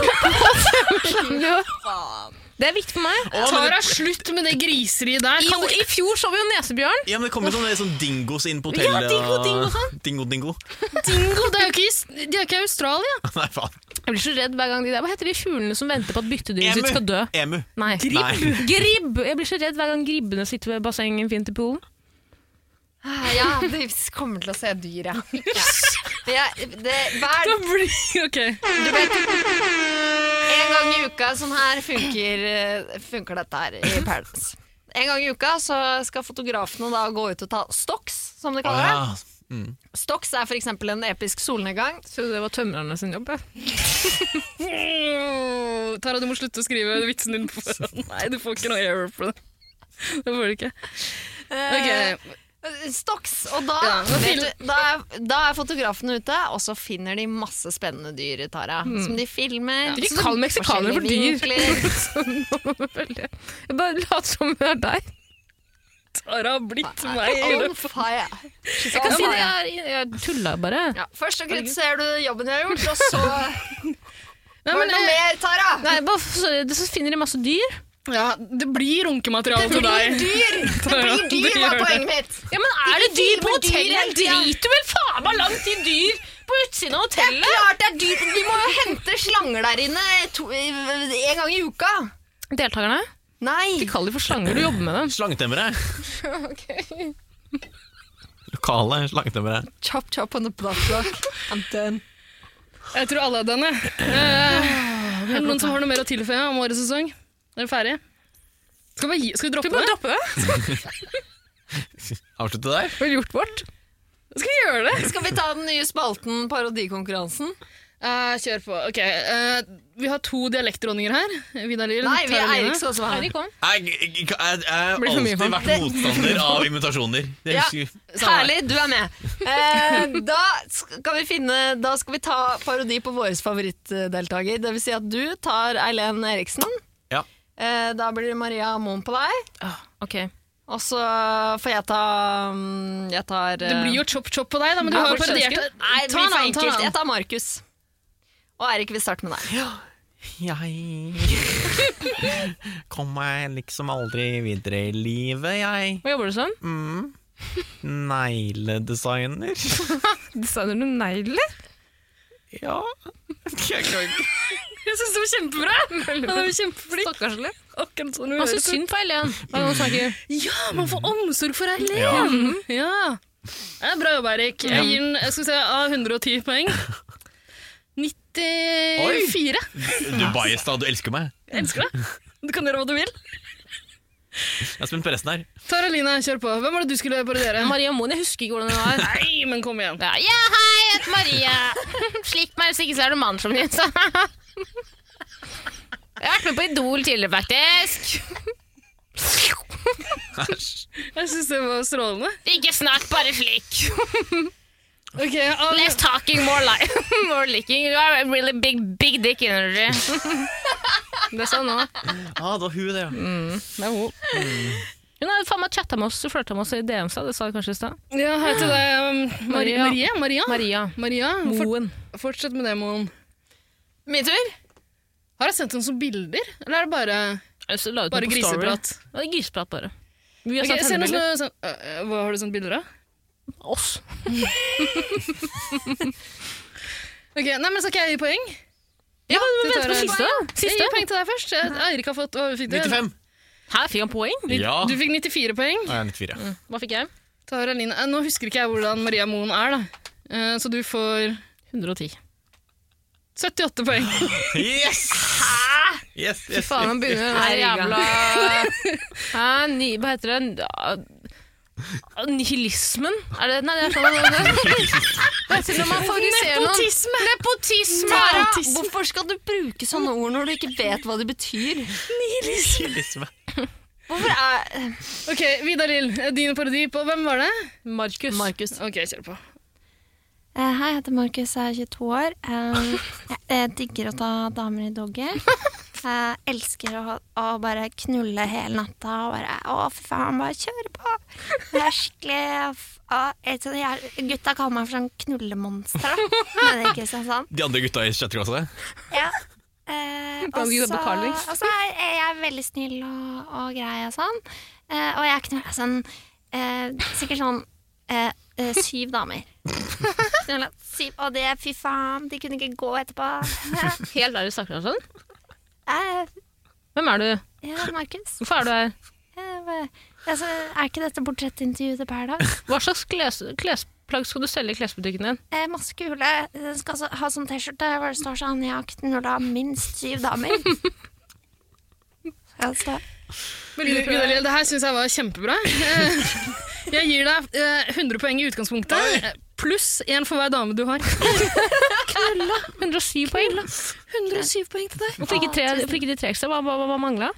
S1: det er viktig for meg.
S4: Å, men
S5: Tara,
S4: det,
S5: slutt med det griseriet der.
S1: I,
S5: Kan du
S1: I fjor så vi jo nesebjørn.
S4: ja, men det kommer jo sånne, sånne dingos inn på
S1: Ja,
S4: hotellet.
S1: dingo,
S4: og-
S1: dingo, sånn.
S4: Dingo, dingo.
S5: Dingo, det er jo ikke, i- de er ikke i Australia.
S4: Nei, faen.
S1: Jeg blir så redd hver gang de der. Hva heter de fuglene som venter på at byttedyret sitt skal dø?
S4: Emu.
S1: Nei.
S4: Nei.
S1: Gribb! Jeg blir så redd hver gang gribbene sitter ved bassenget fint i poolen.
S2: Ja, vi kommer til å se dyr, ja. ja. Jeg, det, hver,
S5: Da blir- Ok.
S2: du vet, en gang i uka sånn her funker, eh, funker dette her i Paradise. En gang i uka så skal fotografene da gå ut og ta stocks, som de kaller det. Stocks er f.eks. en episk solnedgang.
S1: Trodde det var tømrerne sin jobb. jeg.
S5: Åh, Tara, du må slutte å skrive vitsen din på forhånd. Nei, du får ikke noe error på det. Det får du ikke. Ok,
S2: Eh, Stocks, og da,
S5: Ja, nå
S2: vet
S5: fil-
S2: du, da, er, da er fotografene ute, og så finner de masse spennende dyr, Tara. Som de filmer.
S1: Ikke
S2: Så det-
S1: kall meksikanere for dyr.
S2: forskjellige vinkler.
S1: Jeg bare lat som det er deg.
S5: Tara har blitt meg. i
S2: On
S5: løpet-
S2: fire. She's
S1: Jeg,
S2: on
S1: si det,
S2: fire.
S1: jeg, jeg tulla bare.
S2: Ja, først så kritiserer du jobben jeg har gjort, og så
S5: Nei,
S2: Var
S5: men,
S2: det noe
S5: eh,
S2: mer, Tara?
S1: Nei, bare, f- så- så finner de masse dyr.
S5: ja, det blir runkemateriale til
S2: Blir
S5: deg.
S2: dyr! Det
S5: Tara,
S2: blir dyr,
S5: det
S2: var
S5: gjør
S2: poenget mitt.
S1: Ja, men Er det dyr på
S2: filmer dyr
S1: hotellet?
S2: hele
S1: Jeg
S2: tida.
S1: driter vel faen meg langt i dyr på utsiden av hotellet!
S2: Klart det er dyr. Vi må jo hente slanger der inne to, en gang i uka.
S1: Deltakerne?
S2: Nei.
S1: Ikke kall dem for slanger, du jobber med dem.
S4: Slangetemmere. Lokale slangetemmere.
S2: Chop chop on the block block. I'm done.
S5: Jeg tror alle er denne. Eh, er det noen som har noe mer å tilføye om årets sesong? Er dere ferdige? Skal vi, bare gi, skal vi droppe det?
S1: droppe det.
S4: Avslutte der.
S1: Vi har gjort vårt.
S5: Skal vi gjøre det?
S2: Skal vi ta den nye spalten Parodikonkurransen?
S5: Eh, kjør på. Ok, eh, Vi har to dialektdronninger her. Vidar Lill.
S2: Nei, vi
S5: Tara Line.
S2: Eirik skal også være med.
S1: Eirik kom.
S4: Jeg jeg- jeg har
S5: Blir for mye
S4: alltid
S5: for
S4: vært motstander av invitasjoner. Det
S2: Ja.
S4: husker
S5: Samme
S2: Herlig, du er med. Eh, da, skal vi finne, da skal vi ta parodi på vår favorittdeltaker. Det vil si at du tar Eileen Eriksen.
S4: Ja.
S2: Eh, da blir det Maria Moen på deg.
S1: Ok.
S2: Og så får jeg ta mm, Jeg tar
S5: Det blir jo chop-chop på deg, da, men du har jo parodiert det.
S2: Nei, det
S5: Ta
S2: blir
S5: en
S2: for
S5: annen, ta en
S2: enkelt. Jeg
S5: annen.
S2: tar Markus. Og Eirik, vi starter med deg.
S4: Jeg kom meg liksom aldri videre i livet, jeg.
S1: Hva jobber du som?
S4: Mm. Negledesigner.
S1: Designer du negler?
S4: Ja. Jeg kan ikke
S5: Jeg syns det var kjempebra! Han er jo kjempeflink.
S1: Stakkarslig.
S5: Akkurat sånn hun
S1: Masse
S5: høres ut.
S1: synd på Eileen. Hva er det hun snakker?
S5: Ja, man får omsorg for Eileen!
S4: Ja.
S5: Ja. Det er bra jobba, Eirik. Jeg gir den jeg skal se, av 110 poeng. 94.
S4: Du Bajestad, du elsker meg.
S5: Jeg elsker det. Du kan gjøre hva du vil.
S4: Jeg er spent på resten her.
S5: Tara Line, kjør på. Hvem var det du skulle parodiere?
S1: Maria Moen, jeg husker ikke hvordan hun var.
S5: Nei, men kom igjen.
S1: Ja, ja hei, jeg heter Maria. Slik meg, hvis ikke så er du mann som din, sa Jeg har vært med på Idol tidligere, faktisk.
S5: Jeg syns det var strålende.
S1: Ikke snakk, bare slik.
S5: Ok, av,
S1: Less talking, more like. More licking. You are a really big, big dick energy. Det sånn sa hun nå.
S4: Ah, det var hun, det, ja.
S5: Mm.
S1: Hun har jo faen meg chatta med oss, du flørta med oss i DM, sa det sa du kanskje i stad?
S5: ja, hei til deg, um, Maria.
S1: Maria.
S5: Maria? Maria?
S1: Maria.
S5: Maria? Fort,
S1: Moen.
S5: fortsett med det, Moen.
S2: Min tur.
S5: Har jeg sendt henne som bilder, eller er det bare,
S1: Så la ut
S5: bare
S1: den på story.
S5: griseprat?
S1: Ja, det er Griseprat, bare. Vi har
S5: Ok,
S1: sendt
S5: send oss
S1: hennebilder.
S5: noe sånn, øh, øh, hva har du sendt bilder av?
S1: Oss.
S5: Ok, nei, men Så skal jeg gi poeng.
S1: Ja, men
S5: det
S1: vent
S5: tar
S1: på
S5: jeg-
S1: siste, da.
S5: Jeg
S1: Siste.
S5: gir poeng til deg først. Jeg- Eirik har fått hva fikk du?
S4: 95.
S1: Her fikk han poeng.
S4: Ja.
S5: Du Mm. fikk 94 poeng.
S4: Nei, 94. ja.
S1: Hva fikk jeg?
S5: Tara Line, eh, Nå husker ikke jeg hvordan Maria Moen er, da. Eh, Så du får
S1: 110.
S5: 78 poeng.
S4: Yes! Yes, yes, yes.
S1: Faen, nå begynner den der jævla Hæ, ny, Hva heter det? Ah, Nihilismen? Er det Nei, det er sånn Hva heter det når man favoriserer noen?
S5: Nepotisme!
S1: Nepotisme!
S2: Tara,
S5: autisme.
S2: hvorfor skal du bruke sånne ord når du ikke vet hva de betyr?
S4: Nihilisme.
S2: Hvorfor er
S5: Ok, Vidar Lill, eh, din parodi på Hvem var det?
S1: Markus.
S2: Markus.
S5: Ok, kjør på.
S6: Eh, Hei, jeg heter Markus, jeg er 22 år. Eh, Jeg, jeg digger å ta damer i doggy. Jeg elsker å, å bare knulle hele natta og bare Å, fy faen, bare kjøre på! Jeg er skikkelig f- å, jeg, så jeg, Gutta kaller meg for sånn knullemonster, da. Men det er ikke sånn sånn.
S4: De andre gutta i sjette klasse?
S6: Ja. Eh, og
S1: Kan du jobbe
S6: så-
S1: Carlings?
S6: og så er jeg- jeg er veldig snill og, og grei og sånn. Eh, og jeg knulla sånn eh, Sikkert sånn eh, eh, syv damer. Knulla syv, og det, fy faen, de kunne ikke gå etterpå.
S1: Helt ærlig snakker han sånn?
S6: Eh,
S1: Hvem er du?
S6: ja, Markus.
S1: Hvorfor er du her?
S6: Jeg bare- Altså, er ikke dette portrettintervjuet til Per, da?
S1: Hva slags kles klesplagg skal du selge i klesbutikken din?
S6: Eh, masse kule. Den skal altså ha sånn T-skjorte hvor det står sånn 'Jeg har knulla minst syv damer'. Skal det stå?
S5: Men Gud- Gud Arild, det her syns jeg var kjempebra. Eh, Jeg gir deg eh, 100 poeng i utgangspunktet, eh, pluss én for hver dame du har.
S1: 107 poeng.
S5: 107 poeng til deg.
S1: Hvorfor ikke, tre, hvorfor ikke de tre ekstra? Hva, hva, hva mangla?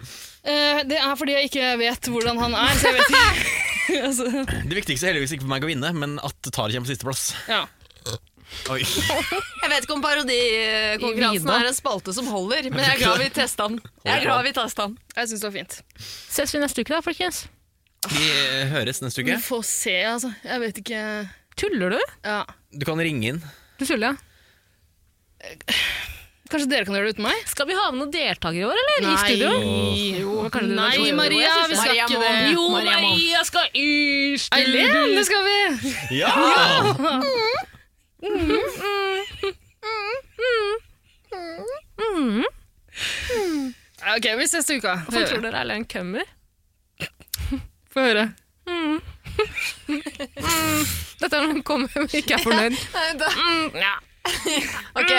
S5: Eh, Det er fordi jeg ikke vet hvordan han er, så jeg vet ikke. altså,
S4: Det viktigste er heldigvis ikke for meg å vinne, men at Tari kommer på sisteplass.
S5: ja.
S4: Oi.
S2: Jeg vet ikke om parodikonkurransen
S1: Vida.
S2: er en spalte som holder, men jeg er glad vi testa den. Jeg er glad vi testa den.
S5: Jeg syns det var fint.
S1: Ses vi neste uke, da, folkens?
S4: Vi eh, høres neste
S5: Vi
S4: uke.
S5: får se, altså. Jeg vet ikke
S1: Tuller du?
S5: ja.
S4: Du kan ringe inn.
S1: Du tuller, ja.
S5: Kanskje dere kan gjøre det uten meg?
S1: Skal vi ha med noen deltakere i år, eller? I studio? Hva kan du- hva
S5: Nei,
S1: tror du?
S5: Maria,
S1: Jeg synes
S5: vi
S1: det.
S5: skal
S2: Maria
S5: ikke
S2: må-
S5: det.
S1: Jo,
S2: Maria må-
S1: Maria skal i studio!
S5: Eileen, det skal vi!
S4: Ja!
S5: Ja, Ok, vi ses til uka. Få
S1: Hvorfor
S5: høre.
S1: tror dere Eileen kommer?
S5: Få høre.
S1: Dette er når hun kommer og ikke er fornøyd. Mm,
S2: Ok,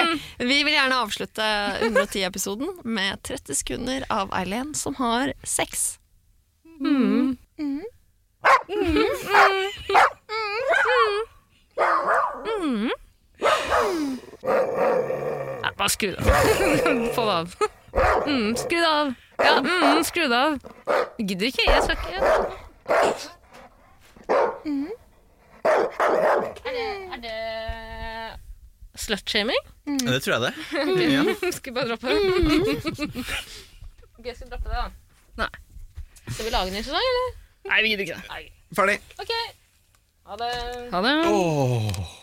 S2: Vi vil gjerne avslutte 110-episoden med 30 sekunder av Eileen som har sex.
S1: Nei, bare skru det av. Få det av. Mm, skru det av. Ja, mm, skru det av. Jeg Gidder ikke, jeg skal ikke. Er det, er det slutshaming?
S4: Ja, Det tror jeg det.
S1: Skal vi bare droppe det? Mm. Ok, skal vi droppe det, da?
S5: Nei.
S1: Skal vi lage en ny sesong, eller?
S5: Nei, vi gidder ikke det.
S4: Ferdig.
S1: Ok. Ha det.
S5: Ha det.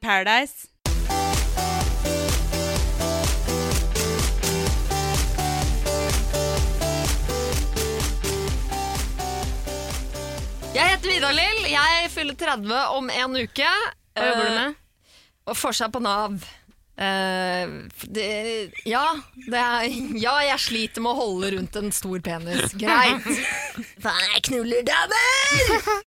S3: Paradise.
S2: Jeg heter Vidar-Lill. Jeg fyller 30 om en uke. Eh,
S1: Hva jobber du med?
S2: Og får seg på Nav. Eh, det, ja, det er, ja, jeg sliter med å holde rundt en stor penis. Greit. For jeg knuller damer!